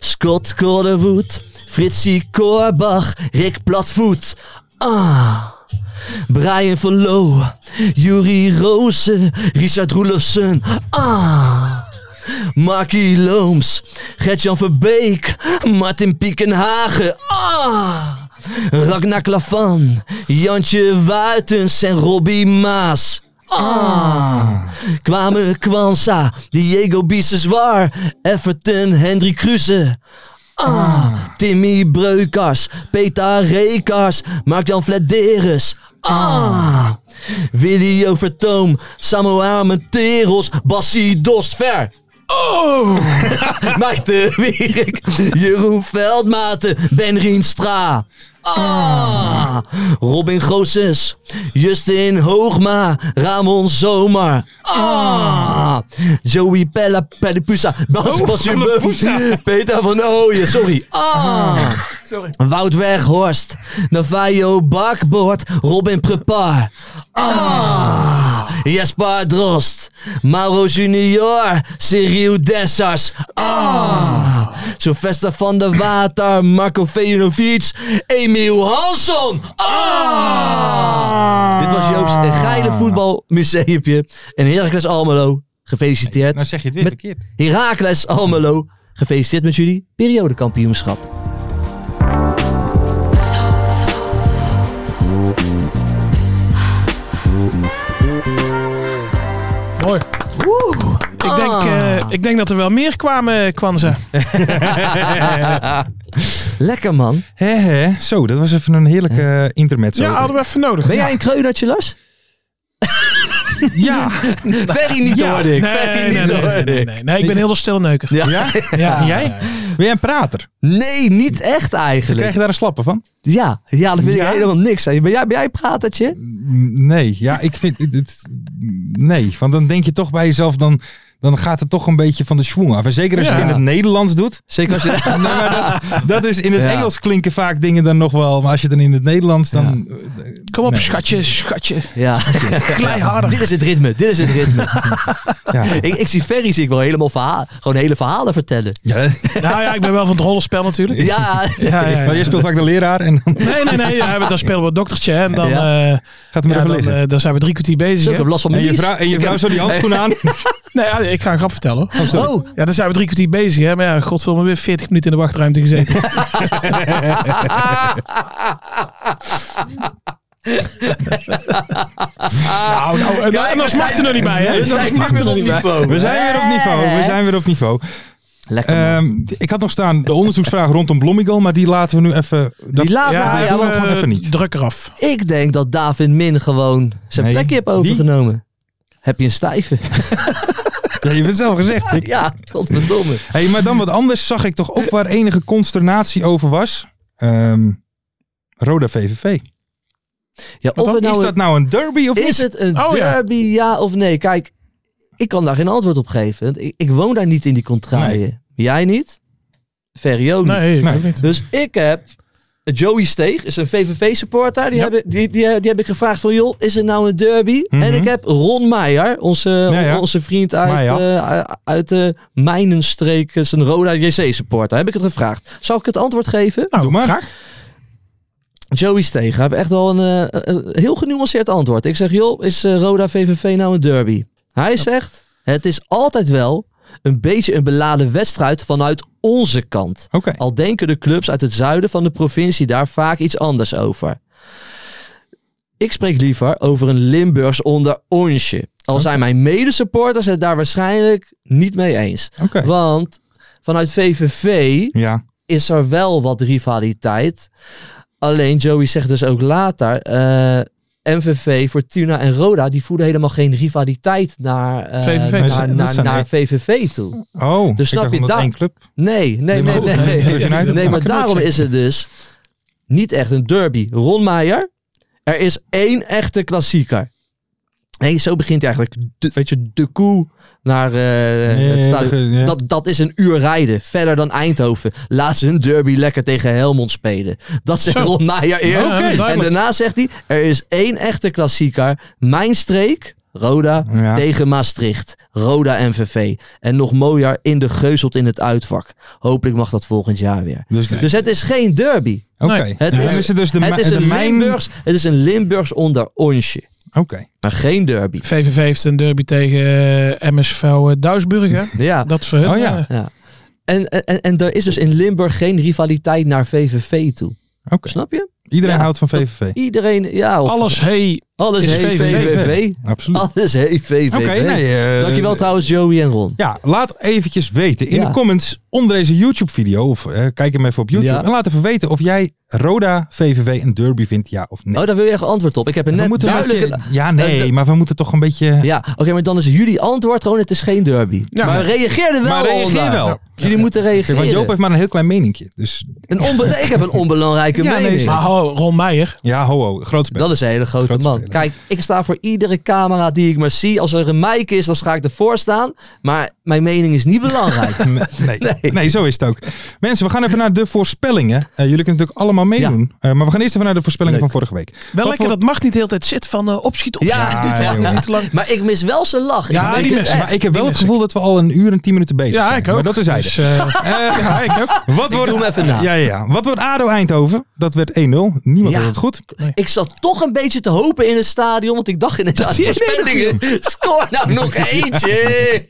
S4: Scott Corderwood, Fritsie Korbach, Rick Platvoet. Ah. Brian van Loo, Jurie Rozen, Richard Roelofsen. Ah. Markie Looms, Gert-Jan Verbeek, Martin Piekenhagen. Ah. Ragnar Klavan, Jantje Wuitens en Robbie Maas. Ah. Kwamen Kwanza, Diego Biseswar, Everton, Henry Kruse. Ah, Timmy Breukers, Peter Rekers, Mark-Jan Flederis. Ah, Willy Overtoom, Samuel Armenteros, Bassi Dostver. Oh! Maarten Wierik, Jeroen Veldmaten, Ben Rienstra. Ah, Robin Goossens, Justin Hoogma, Ramon Zomer. Ah, Joey Pella Pedipusa, Bas Basumbuff, Peter van Ooyen, sorry. Ah,
S5: Sorry.
S4: Wout Weghorst, Navajo Bakboord, Robin Prepar. Ah, Jesper Drost, Mauro Junior, Cyril Dessers. Ah, Sylvester van der Water, Marco Vejanovic, Emiel Hansson. Ah, dit was Joop's geile voetbalmuseumpje. En Heracles Almelo, gefeliciteerd.
S3: Nou zeg je het weer
S4: Met-
S3: verkeerd.
S4: Heracles Almelo, gefeliciteerd met jullie periodekampioenschap.
S5: Mooi. Ik denk,
S4: ah.
S5: eh, ik denk dat er wel meer kwamen, Kwanza.
S4: Lekker man.
S3: Hè, hè. Zo, dat was even een heerlijke eh, intermezzo.
S5: Ja, hadden we even nodig.
S4: Ben jij een kreunertje, Lars?
S3: Ja.
S4: Ferry niet
S5: Ja.
S4: hoorde ik.
S5: Nee,
S4: Ferry
S5: nee,
S4: niet
S5: nee,
S4: hoorde
S5: nee, nee,
S4: ik.
S5: nee. Nee, ik ben heel stil neuker.
S4: Ja.
S5: Ja, en jij?
S3: Ben jij een prater?
S4: Nee, niet echt
S3: Krijg
S4: eigenlijk.
S3: je daar een slappe van?
S4: Ja, ja dat vind
S3: Ja?
S4: ik helemaal niks. aan. Ben jij, ben jij een pratertje?
S3: Mm, Nee, ja, ik vind het- het. Nee, want dan denk je toch bij jezelf, dan, dan gaat het toch een beetje van de schwung af. En zeker als je
S5: Ja.
S3: het in het Nederlands doet.
S4: Zeker als je...
S3: Nee, maar dat, dat is in het
S4: Ja.
S3: Engels klinken vaak dingen dan nog wel, maar als je dan in het Nederlands dan. eh,
S5: Kom op,
S3: Nee.
S5: schatje, schatje.
S4: Ja.
S5: Klei harder.
S4: Dit is het ritme, dit is het ritme.
S3: Ja.
S4: ik, ik zie Ferry zie ik wel helemaal verha- gewoon hele verhalen vertellen.
S3: Ja.
S5: Nou ja, ik ben wel van het rollenspel natuurlijk.
S4: Ja,
S5: Ja, ja, ja.
S3: Maar je speelt vaak de leraar en dan
S5: Nee, nee, nee. ja, dan spelen we het doktertje hè, en dan,
S4: Ja.
S5: eh,
S3: gaat het
S5: ja,
S3: maar even
S5: dan,
S3: liggen.
S5: eh, dan zijn we drie kwartier
S4: zo,
S5: bezig.
S4: ik
S5: hè.
S4: heb last van
S3: en
S4: mijn
S3: je
S4: lies.
S3: vrouw, en je
S4: Ik
S3: vrouw
S4: heb-
S3: zo die handschoen aan.
S5: Nee, ja, ik ga een grap vertellen. hoor.
S4: Oh,
S5: Ja, dan zijn we drie kwartier bezig. Hè? Maar ja, godverdomme, weer 40 minuten in de wachtruimte gezeten. nou, nou, en,
S4: Kijk,
S5: en dan
S4: we
S5: smaakt er
S4: zijn-
S5: nog niet bij, hè?
S4: we zijn
S5: smaakt
S4: weer op niveau.
S3: We zijn weer op niveau. We zijn weer op niveau.
S4: Lekker man.
S3: Ehm, ik had nog staan de onderzoeksvraag rondom Blommigol, maar die laten we nu even. dat-
S4: Die laat
S5: Ja,
S4: maar,
S5: ja,
S4: ja, want
S3: we- gewoon even niet.
S5: Druk eraf.
S4: ik denk dat David Min gewoon zijn
S3: Nee.
S4: plekje heeft
S3: Wie?
S4: overgenomen. Heb je een stijve?
S3: Ja, je bent zelf gezegd. Ik-
S4: ja, godverdomme.
S3: Hey, maar dan wat anders zag ik toch ook waar enige consternatie over was. Ehm, Roda VVV.
S4: Ja, of
S3: Want
S4: het nou
S3: is dat nou een derby of
S4: Is
S3: niet?
S4: het een
S5: Oh, ja.
S4: derby, ja. of nee? Kijk, ik kan daar geen antwoord op geven. want Ik, ik woon daar niet in die contraien. Jij niet? Ferry ook niet.
S5: Nee, ik
S3: Nee.
S5: ook niet.
S4: Dus ik heb... Joey Steeg is een VVV-supporter. Die,
S5: Ja.
S4: heb ik- die, die, die heb ik gevraagd van... joh, is het nou een derby?
S3: Mhm.
S4: En ik heb Ron Meijer, onze,
S3: Ja, ja.
S4: onze vriend uit,
S3: Meijer.
S4: eh, uit de Mijnenstreek... is een Roda JC-supporter. Heb ik het gevraagd. Zal ik het antwoord geven?
S3: Nou, Doe maar.
S4: Joey Steeg, heb echt wel een, eh, een heel genuanceerd antwoord. Ik zeg, joh, is eh, Roda VVV nou een derby? Hij zegt, het is altijd wel een beetje een beladen wedstrijd vanuit onze kant.
S3: Oké.
S4: Al denken de clubs uit het zuiden van de provincie daar vaak iets anders over. Ik spreek liever over een Limburgs onder onsje. Al zijn mijn medesupporters het daar waarschijnlijk niet mee eens.
S3: Oké.
S4: Want vanuit VVV
S3: Ja.
S4: is er wel wat rivaliteit. Alleen Joey zegt dus ook later. eh, MVV, Fortuna en Roda, die voelen helemaal geen rivaliteit naar, eh,
S5: VVV.
S4: naar,
S5: Dat
S3: zijn- dat
S4: naar,
S3: zijn-
S4: naar VVV toe.
S3: Oh,
S4: Dus snap
S3: ik dacht
S4: je
S3: omdat
S4: dat-
S3: één club.
S4: Nee, nee, nee,
S3: Nee, maar
S4: nee.
S3: goed,
S4: nee,
S3: nee, nee, nee,
S4: Nee, maar
S3: dat kan
S4: daarom
S3: niet
S4: is het dus niet echt een derby. Ron Meijer, er is één echte klassieker. Nee, zo begint hij eigenlijk, de, weet je, de koe naar eh, het
S3: Nee,
S4: stadion.
S3: ja.
S4: Dat, dat is een uur rijden. Verder dan Eindhoven. Laat ze hun derby lekker tegen Helmond spelen. Dat zegt
S5: Zo.
S4: Ron Meijer eerst.
S5: Ja, duidelijk.
S4: en daarna zegt hij... Er is één echte klassieker. Mijn streek, Roda,
S3: Ja.
S4: tegen Maastricht. Roda MVV. En nog mooier, in de geuzelt in het uitvak. Hopelijk mag dat volgend jaar weer.
S3: Dus,
S4: Dus het is geen derby.
S3: Oké.
S5: Nee.
S4: Het
S3: Dan
S4: is-
S3: is het dus de,
S4: het,
S3: mi-
S4: is
S3: de
S4: een
S3: mijn...
S4: Limburgs, het is een Limburgs onder onsje.
S3: Oké.
S4: Maar geen derby.
S5: VVV heeft een derby tegen eh, MSV eh, Duisburg. Hè?
S4: Ja.
S5: Dat is voor hun,
S3: Oh ja.
S5: eh,
S4: ja. En, en, en- en er is dus in Limburg geen rivaliteit naar VVV toe.
S3: Oké.
S4: Snap je?
S3: Iedereen
S4: Ja,
S3: houdt van
S4: dat-
S3: VVV.
S4: Iedereen, ja, of-
S5: alles hey.
S4: alles
S5: is
S4: hey,
S5: VVV.
S4: VVV.
S3: Absoluut.
S4: Alles hey, VVV.
S3: Oké, nee. eh,
S4: Dankjewel trouwens Joey en Ron.
S3: Ja, laat eventjes weten in
S4: Ja.
S3: de comments onder deze YouTube-video. Of eh, kijk hem even op YouTube.
S4: Ja.
S3: En laat even weten of jij Roda VVV een derby vindt, ja of nee.
S4: Oh, daar wil je echt antwoord op. Ik heb een
S3: we
S4: net
S3: moeten
S4: duidelijk...
S3: een beetje, ja, nee,
S4: eh, de-
S3: maar we moeten toch een beetje...
S4: Ja, oké, maar dan is jullie antwoord gewoon het is geen derby.
S5: Ja.
S4: maar reageer er wel
S3: maar reageer
S4: onder.
S3: wel.
S4: Jullie moeten
S3: Kijk,
S4: reageren.
S3: want Joop heeft maar een heel klein meninkje. Dus
S4: Een onbe- nee, ik heb een onbelangrijke
S5: Ja, nee,
S4: mening.
S5: maar ho, Ron Meijer.
S3: Ja, ho, ho. Groot spel.
S4: dat is een hele grote
S3: Grote
S4: man.
S3: speler.
S4: Kijk, ik sta voor iedere camera die ik maar zie. Als er een mic is, dan ga ik ervoor staan. Maar mijn mening is niet belangrijk.
S3: Nee, nee. zo is het ook. Mensen, we gaan even naar de voorspellingen. Eh, jullie kunnen natuurlijk allemaal meedoen. Eh, maar we gaan eerst even naar de voorspellingen van vorige week.
S5: Wel lekker,
S3: voor-
S5: dat mag niet de hele tijd zitten van eh, opschiet, opschiet.
S4: Ja,
S5: doet wel,
S3: jongen.
S5: niet te lang.
S4: maar ik mis wel zijn lach.
S5: Ja,
S4: weet
S5: die
S4: het
S5: mis-
S4: echt.
S3: Ah, Maar ik heb wel
S5: die
S3: het
S5: mis
S3: geval dat we al een uur en tien minuten bezig zijn.
S5: Ja, ik ook.
S3: Maar dat is hij.
S5: Dus, eh, ja, ik ook.
S3: Wat
S4: Ik
S3: wordt,
S4: doe hem even na.
S3: Ja, ja, ja. Wat wordt ADO Eindhoven? Dat werd 1-0. Niemand
S4: Ja.
S3: had het goed.
S4: Ik zat toch een beetje te hopen in het stadion, want ik dacht ineens aan die voorspellingen. Score nou nog eentje!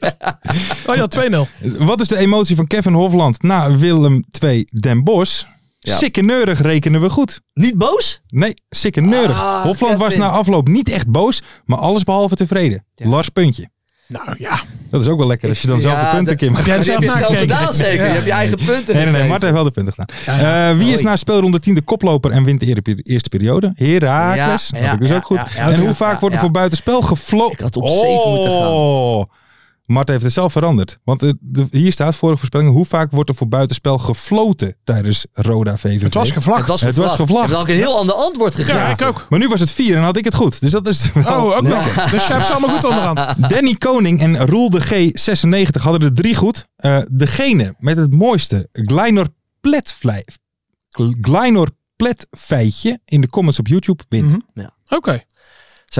S5: Oh ja, 2-0.
S3: Eh, Wat is de emotie van Kevin Hofland na Willem 2 Den Bosch?
S4: Ja.
S3: Sikke neurig rekenen we goed.
S4: Niet boos?
S3: Nee, sikke neurig.
S4: Ah,
S3: Hofland was
S4: Kevin.
S3: na afloop niet echt boos, maar alles behalve tevreden. Lars puntje.
S5: Nou ja.
S3: Dat is ook wel lekker als je dan zelf de
S4: Ja,
S3: punten
S4: dat-
S3: een keer mag
S5: Heb jij
S4: Die
S5: zelf
S4: heb je het zelf
S5: nagekeken?
S4: gedaan zeker? Je hebt je eigen punten
S3: Nee, nee, nee.
S4: gegeven.
S3: Marten heeft wel de punten gedaan.
S5: Ja,
S3: Eh, wie is
S4: Hoi.
S3: na speelronde 10 de koploper en wint de eer- eerste periode? Herakles.
S4: Ja,
S3: dat had ik
S4: ja,
S3: dus
S4: ja,
S3: ook goed.
S4: ja, ja,
S3: en
S4: ja,
S3: hoe
S4: ja,
S3: vaak
S4: ja,
S3: wordt
S4: ja.
S3: er voor buitenspel gefloten?
S4: Ik had op zeven moeten gaan.
S3: Marten heeft het zelf veranderd. Want eh, de- hier staat vorige voorspelling. Hoe vaak wordt er voor buitenspel gefloten tijdens Roda VVV?
S5: Het was gevlakt.
S4: Het was
S3: Het
S4: gevlagd.
S3: was gevlagd.
S4: Ik heb ook een heel ander antwoord gegeven.
S5: Ja, ik ook.
S3: Maar nu was het 4 en had ik het goed. Dus dat is wel
S5: Oh, ook nog.
S3: lekker.
S5: Dus je hebt ze allemaal goed onderhand.
S3: Danny Koning en Roel de G96 hadden er drie goed. Eh, degene met het mooiste Glynor Pletvlei- Glynor Pletfeitje in de comments op YouTube wint.
S5: Mhm.
S4: Ja.
S5: Oké.
S4: Er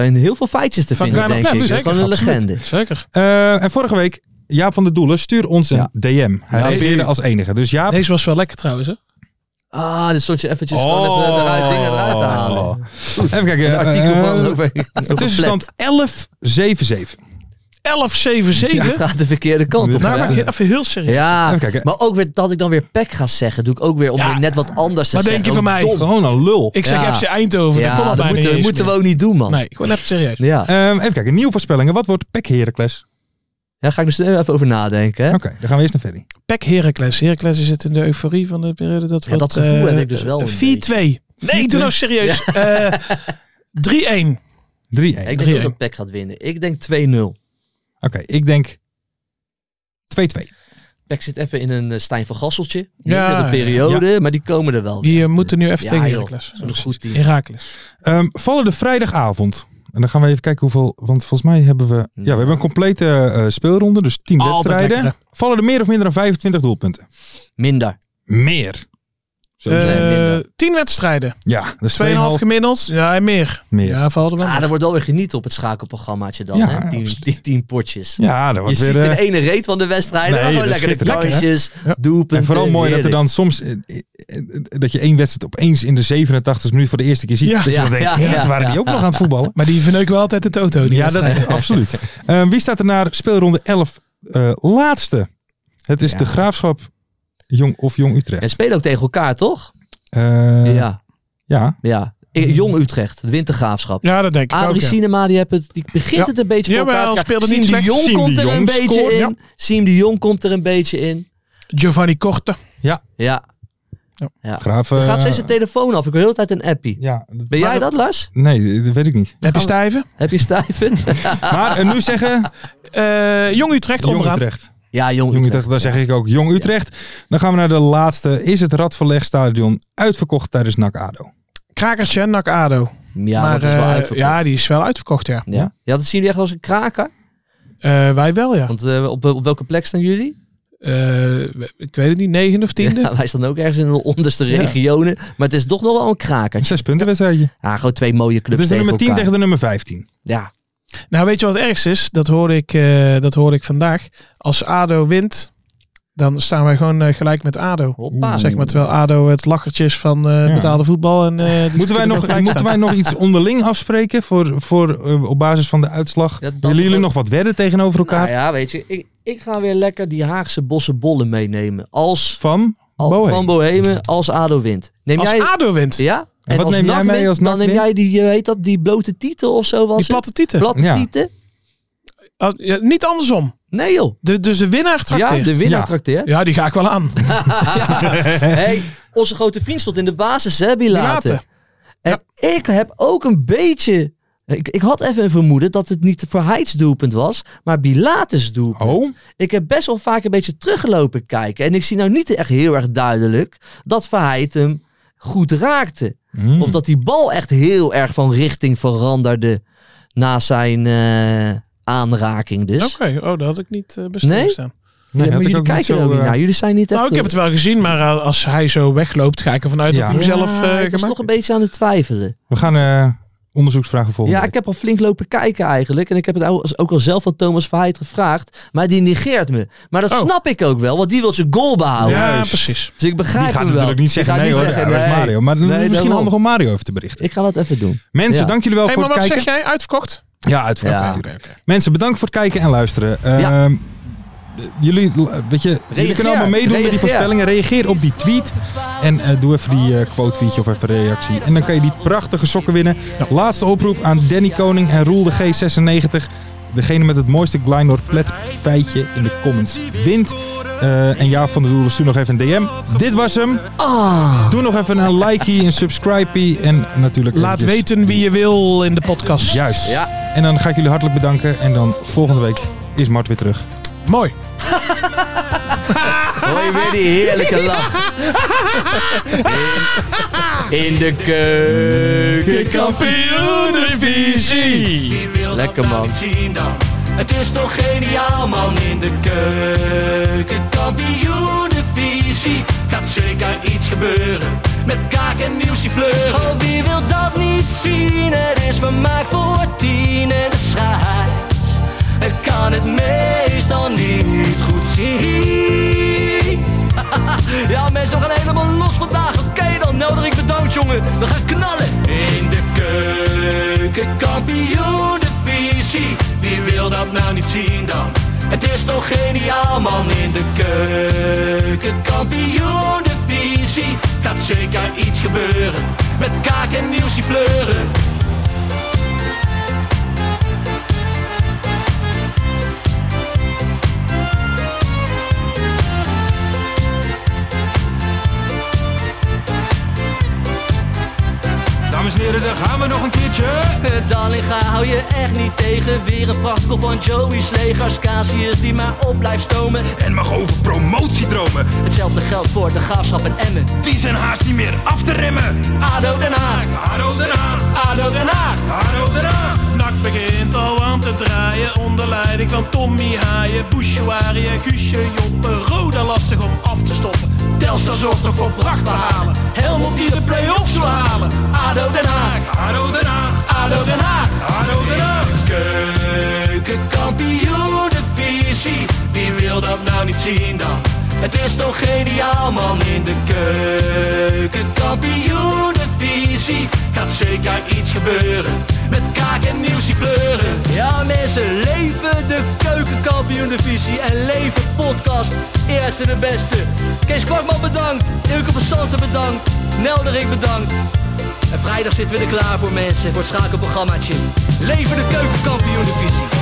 S4: zijn heel veel feitjes te
S5: Van dus
S4: vinden,
S5: Kleine
S4: denk ik.
S5: Plet,
S4: Dat is
S5: zeker,
S4: gewoon een
S5: absoluut.
S4: legende.
S5: Zeker.
S3: Eh, en vorige week, Jaap van der Doelen, stuur ons een
S4: Ja.
S3: DM. Hij
S5: Ja,
S3: reageerde
S5: deze-
S3: als enige. Dus Jaap...
S5: Deze was wel lekker trouwens. Hè?
S4: Ah, dus stond je eventjes
S3: Oh.
S4: gewoon even eruit, dingen eruit te halen.
S3: Even kijken.
S4: Een artikel
S3: eh,
S4: van over
S3: de tussenstand 11-7-7.
S5: 11-7-7.
S4: Het gaat de verkeerde kant op. hè?
S5: nou, maar ik even heel serieus.
S4: Ja,
S3: Even kijken.
S4: maar ook weer dat ik dan weer pek ga zeggen. Doe ik ook weer om
S5: Ja.
S4: weer net wat anders te
S5: Wat
S4: zeggen.
S5: denk je van
S4: Ook
S5: mij?
S4: dom.
S3: Gewoon een lul.
S5: Ik zeg
S4: Ja.
S5: FC Eindhoven.
S4: Ja,
S5: dat kon
S4: dat
S5: al bijna
S4: moeten, we-
S5: niet eens
S4: moeten we
S5: meer.
S4: ook niet doen, man.
S5: Nee, gewoon even serieus.
S4: Ja.
S3: Eh, even kijken, nieuwe voorspellingen. Wat wordt Pek Heracles?
S4: Daar ga ik dus even over nadenken. Hè?
S3: Oké, dan gaan we eerst naar Ferry.
S5: Pek Heracles. Heracles is het in de euforie van de periode. Dat,
S4: Ja, dat
S5: wordt,
S4: gevoel
S5: eh,
S4: heb ik dus wel een
S5: 4-2. Nee, doe nou serieus. Eh, 3-1.
S3: 3-1.
S4: Ik denk ook dat Peck gaat winnen. Ik denk 2-0.
S3: Oké, ik denk 2-2.
S4: Peck zit even in een eh, Stijn van Gasseltje.
S5: Ja,
S4: Mindere
S5: ja.
S4: periode, maar Oh, die komen er wel
S5: Die
S4: weer.
S5: eh, moeten nu even
S4: Ja,
S5: tegen
S4: joh.
S5: Heracles.
S4: Dat is een goed team.
S5: Heracles.
S3: Ehm, vallen de vrijdagavond. En dan gaan we even kijken hoeveel. Want volgens mij hebben we. Ja,
S4: Nou.
S3: we hebben een complete eh, speelronde. Dus 10
S5: Altijd
S3: wedstrijden.
S5: lekker,
S3: Vallen er meer of minder dan 25 doelpunten?
S4: Minder.
S3: Meer. Zo
S5: Eh,
S3: zijn.
S4: minder.
S5: 10 wedstrijden. 2,5
S3: ja, dat is 2,5
S5: gemiddeld. Ja, en meer.
S3: meer. Ja,
S5: Ja, valt er wel.
S4: Ah, er wordt alweer genieten op het schakelprogrammaatje dan.
S3: Ja,
S4: hè? Die,
S3: absoluut.
S4: die tien potjes.
S3: dat
S4: Je
S3: wordt
S4: ziet
S3: weer.
S4: de
S3: eh,
S4: ene reet van de wedstrijd.
S3: Nee,
S4: maar gewoon
S3: dat is
S4: lekker de
S3: schitterend.
S4: kansjes,
S5: hè? Ja.
S4: doelpunten.
S3: en vooral mooi dat er
S4: heerlijk.
S3: dan soms. eh, eh, eh, dat je één wedstrijd opeens in de 87 minuut voor de eerste keer ziet.
S5: Ja.
S3: dat je
S4: Ja,
S3: dan denkt.
S4: ja,
S3: Ja,
S4: ja,
S3: ze waren die
S4: ja.
S3: ook nog aan het voetballen.
S5: Maar die verneuken wel altijd de toto. Die
S3: Ja, dat,
S5: wedstrijden.
S3: absoluut. Ehm, wie staat er naar speelronde 11 eh, laatste? Het is
S4: Ja.
S3: de Graafschap Jong of Jong Utrecht.
S4: En spelen ook tegen elkaar, toch?
S3: Eh, ja.
S4: Ja, ja. Ik- Jong Utrecht, het wintergraafschap.
S5: Ja, dat denk ik ook.
S4: Adrie
S5: ja.
S4: Sinema, Ah, die, hebt het, die begint
S5: Ja.
S4: het een beetje voor
S5: Jawel,
S4: elkaar te krijgen.
S5: speelde niet
S4: Siem de
S5: slecht.
S4: Jong
S3: Siem
S4: komt
S3: de
S4: er een
S3: Jong
S4: beetje
S3: scoort,
S4: in.
S3: ja.
S4: Siem de Jong komt er een beetje in.
S5: Giovanni Korte.
S4: Ja.
S5: Ja.
S4: ja.
S3: Graaf.
S4: Er gaat
S3: eh,
S4: steeds zijn telefoon af. Ik hoor heel de tijd een appie.
S3: Ja,
S4: Ben jij dat, Lars?
S3: Nee, dat weet ik niet.
S4: Oh.
S5: Heb je stijven?
S4: Heb je stijven?
S3: Maar eh, nu zeggen
S5: Eh, Jong Utrecht
S3: Jong
S5: onderaan.
S3: Utrecht.
S4: ja, Jong
S3: Jong
S4: Utrecht.
S3: Utrecht, daar zeg ik ook Jong Utrecht. Dan gaan we naar de laatste. Is het Radverlegstadion uitverkocht tijdens NAC ADO?
S5: Krakertje, NAC ADO.
S4: Ja,
S5: maar
S4: dat is wel
S5: eh,
S4: uitverkocht.
S5: ja, die is wel uitverkocht, ja.
S4: Ja. ja, dat zien jullie echt als een kraker.
S5: Eh, wij wel, ja.
S4: Want eh, op, op welke plek staan jullie?
S5: Eh, ik weet het niet, negende of tiende?
S4: Ja, wij staan ook ergens in de onderste
S5: Ja.
S4: regionen. Maar het is toch nog wel een kraker.
S3: Zes punten wedstrijdje.
S4: Ja, gewoon twee mooie
S3: Het
S4: clubs
S3: is de nummer 10
S4: tegen
S3: tegen
S4: elkaar.
S3: de nummer 15.
S4: Ja,
S5: Nou, weet je wat het ergste is? Dat hoorde ik, eh, dat hoorde ik vandaag. Als ADO wint, dan staan wij gewoon eh, gelijk met ADO.
S4: hoppa.
S5: Zeg maar, terwijl ADO het lakkertje is van eh,
S3: Ja.
S5: betaalde voetbal. En, eh, die
S3: Moeten wij,
S5: kunnen
S3: nog,
S5: gelijk
S3: moeten
S5: staan.
S3: wij nog iets onderling afspreken voor, voor, eh, op basis van de uitslag?
S4: Ja, dat
S3: Willen jullie
S4: wordt-
S3: nog wat wedden tegenover elkaar?
S4: Nou ja, weet je. Ik, ik ga weer lekker die Haagse bosse bollen meenemen. Als
S3: Van
S4: al,
S3: Bohe.
S4: van Bohemen, als ADO wint. Neem jij...
S5: Als ADO wint,
S4: Ja?
S3: En wat neem jij
S4: NAC
S3: mee
S4: wint,
S3: als NAC
S4: Dan neem
S3: wint?
S4: jij die, je weet dat, die blote titel of zo was
S5: die
S4: het?
S5: platte tieten.
S4: Platte
S3: Ja.
S4: tieten?
S5: Als- ja, niet andersom.
S4: Nee joh.
S5: De, dus de winnaar
S4: Ja,
S5: trakteert.
S4: de winnaar
S3: Ja.
S4: trakteert.
S5: Ja, die ga ik wel aan.
S4: Hey, onze grote vriend stond in de basis, hè, Bilate.
S5: Bilate.
S4: En ik heb ook een beetje Ik, ik had even een vermoeden dat het niet voor Heids doelpunt was, maar Bilates doelpunt.
S3: Oh,
S4: Ik heb best wel vaak een beetje teruggelopen kijken. En ik zie nou niet echt heel erg duidelijk dat Verheid hem goed raakte.
S3: Hmm.
S4: Of dat die bal echt heel erg van richting veranderde na zijn eh, aanraking dus.
S5: Oké, oh, dat had ik niet eh bij
S4: Nee? Ja,
S5: staan.
S3: heb
S4: maar
S3: ik
S4: jullie
S3: ook niet
S4: kijken
S3: zo,
S4: er ook niet
S3: eh,
S4: naar. Jullie zijn niet echt...
S5: Nou, ik heb het wel gezien, maar eh, als hij zo wegloopt, ga ik ervan uit
S3: Ja.
S5: dat hij hem zelf
S4: Ja, Ah,
S5: eh,
S4: ik was
S5: gemaakt
S4: nog een
S5: heeft.
S4: beetje aan het twijfelen.
S3: we gaan eh, onderzoeksvragen volgen.
S4: Ja, ik heb al flink lopen kijken eigenlijk. En ik heb het ou- ook al zelf van Thomas Verheid gevraagd. Maar die negeert me. Maar dat
S5: Oh.
S4: snap ik ook wel, want die wil zijn goal behouden.
S5: Ja,
S3: Juist.
S5: precies.
S4: Dus ik begrijp
S3: Die gaat
S4: hem wel.
S3: natuurlijk niet
S4: Die
S3: zeggen
S4: gaat
S3: nee hoor, ja, dat is
S4: nee.
S3: Mario. Maar dan is
S4: Nee,
S3: het misschien
S4: daarom.
S3: handig om Mario even te berichten.
S4: Ik ga dat even doen.
S3: Mensen,
S4: Ja.
S3: dank jullie wel
S5: Hé,
S3: voor
S5: maar
S3: het
S5: wat
S3: kijken.
S5: zeg jij? Uitverkocht?
S3: Ja, uitvoer.
S4: Ja.
S3: Mensen, bedankt voor het kijken en luisteren.
S4: Ja.
S3: Ehm, Jullie, weet je, jullie kunnen allemaal meedoen met die
S4: Reageer.
S3: voorspellingen. Reageer op die tweet. En eh, doe even die eh, quote-tweetje of even reactie. En dan kan je die prachtige sokken winnen. Laatste oproep aan Danny Koning en Roel de G96. Degene met het mooiste Glynor plet feitje in de comments wint. Eh, en Jaap van der Doelen, stuur nog even een DM. Dit was hem.
S4: Ah.
S3: Doe nog even een likey, een subscribey. En natuurlijk
S5: Laat
S3: eventjes-
S5: weten wie je wil in de podcast.
S3: Juist.
S4: dus- Ja.
S3: En dan ga ik jullie hartelijk bedanken. En dan volgende week is Mart weer terug.
S5: Mooi.
S4: Hoor je weer die heerlijke lach? In, in de keuken.
S1: Wie wil
S4: Lekker,
S1: dat nou
S4: man.
S1: niet zien dan? Het is toch geniaal man in de keuken. Kampioenenvisie. Gaat zeker iets gebeuren. Met kaak en muziek fleuren. Oh, wie wil dat niet zien? Het is vermaakt voor tien en de scheids. Ik kan het meestal niet goed zien. Ja, mensen, we gaan helemaal los vandaag. Oké, dan nodig ik bedankt, jongen. We gaan knallen. In de keuken, kampioen de visie. Wie wil dat nou niet zien dan? Het is toch geniaal, man. In de keuken, kampioen de visie. Gaat zeker iets gebeuren. Met kaak en nieuwsie fleuren.
S2: Dames en heren, daar gaan we nog een keertje.
S1: Dallinga hou je echt niet tegen. Weer een prachtkel van Joey's legers. Casius die maar op blijft stomen.
S2: En mag over promotiedromen.
S1: Hetzelfde geldt voor de graafschap en Emmen.
S2: Die zijn haast niet meer af te remmen.
S1: ADO Den Haag,
S2: Haro Den Haag,
S1: ADO Den Haag.
S2: Haro Den Haag.
S9: Nak begint al aan te draaien onder leiding van Tommy Haaien, Bouchouari en Guusje Joppen. Roda lastig om af te stoppen. Telstar zorgt nog voor pracht te halen. Helmond die de play-offs wil halen.
S1: ADO Den Haag,
S2: Haro Den Haag,
S1: ADO Den Haag.
S2: Haro Den Haag.
S1: Keukenkampioenenvisie, wie wil dat nou niet zien dan? Het is toch geniaal man in de keukenkampioenenvisie. Gaat zeker iets gebeuren, met kaak en nieuwsie kleuren. Ja mensen, leven de keukenkampioenenvisie en leven podcast. Eerste de beste. Kees Kwakman bedankt, Ilke van Santen bedankt, Nelderik bedankt. En vrijdag zitten we er klaar voor mensen, voor het schakelprogrammaatje. Leven de keukenkampioen divisie.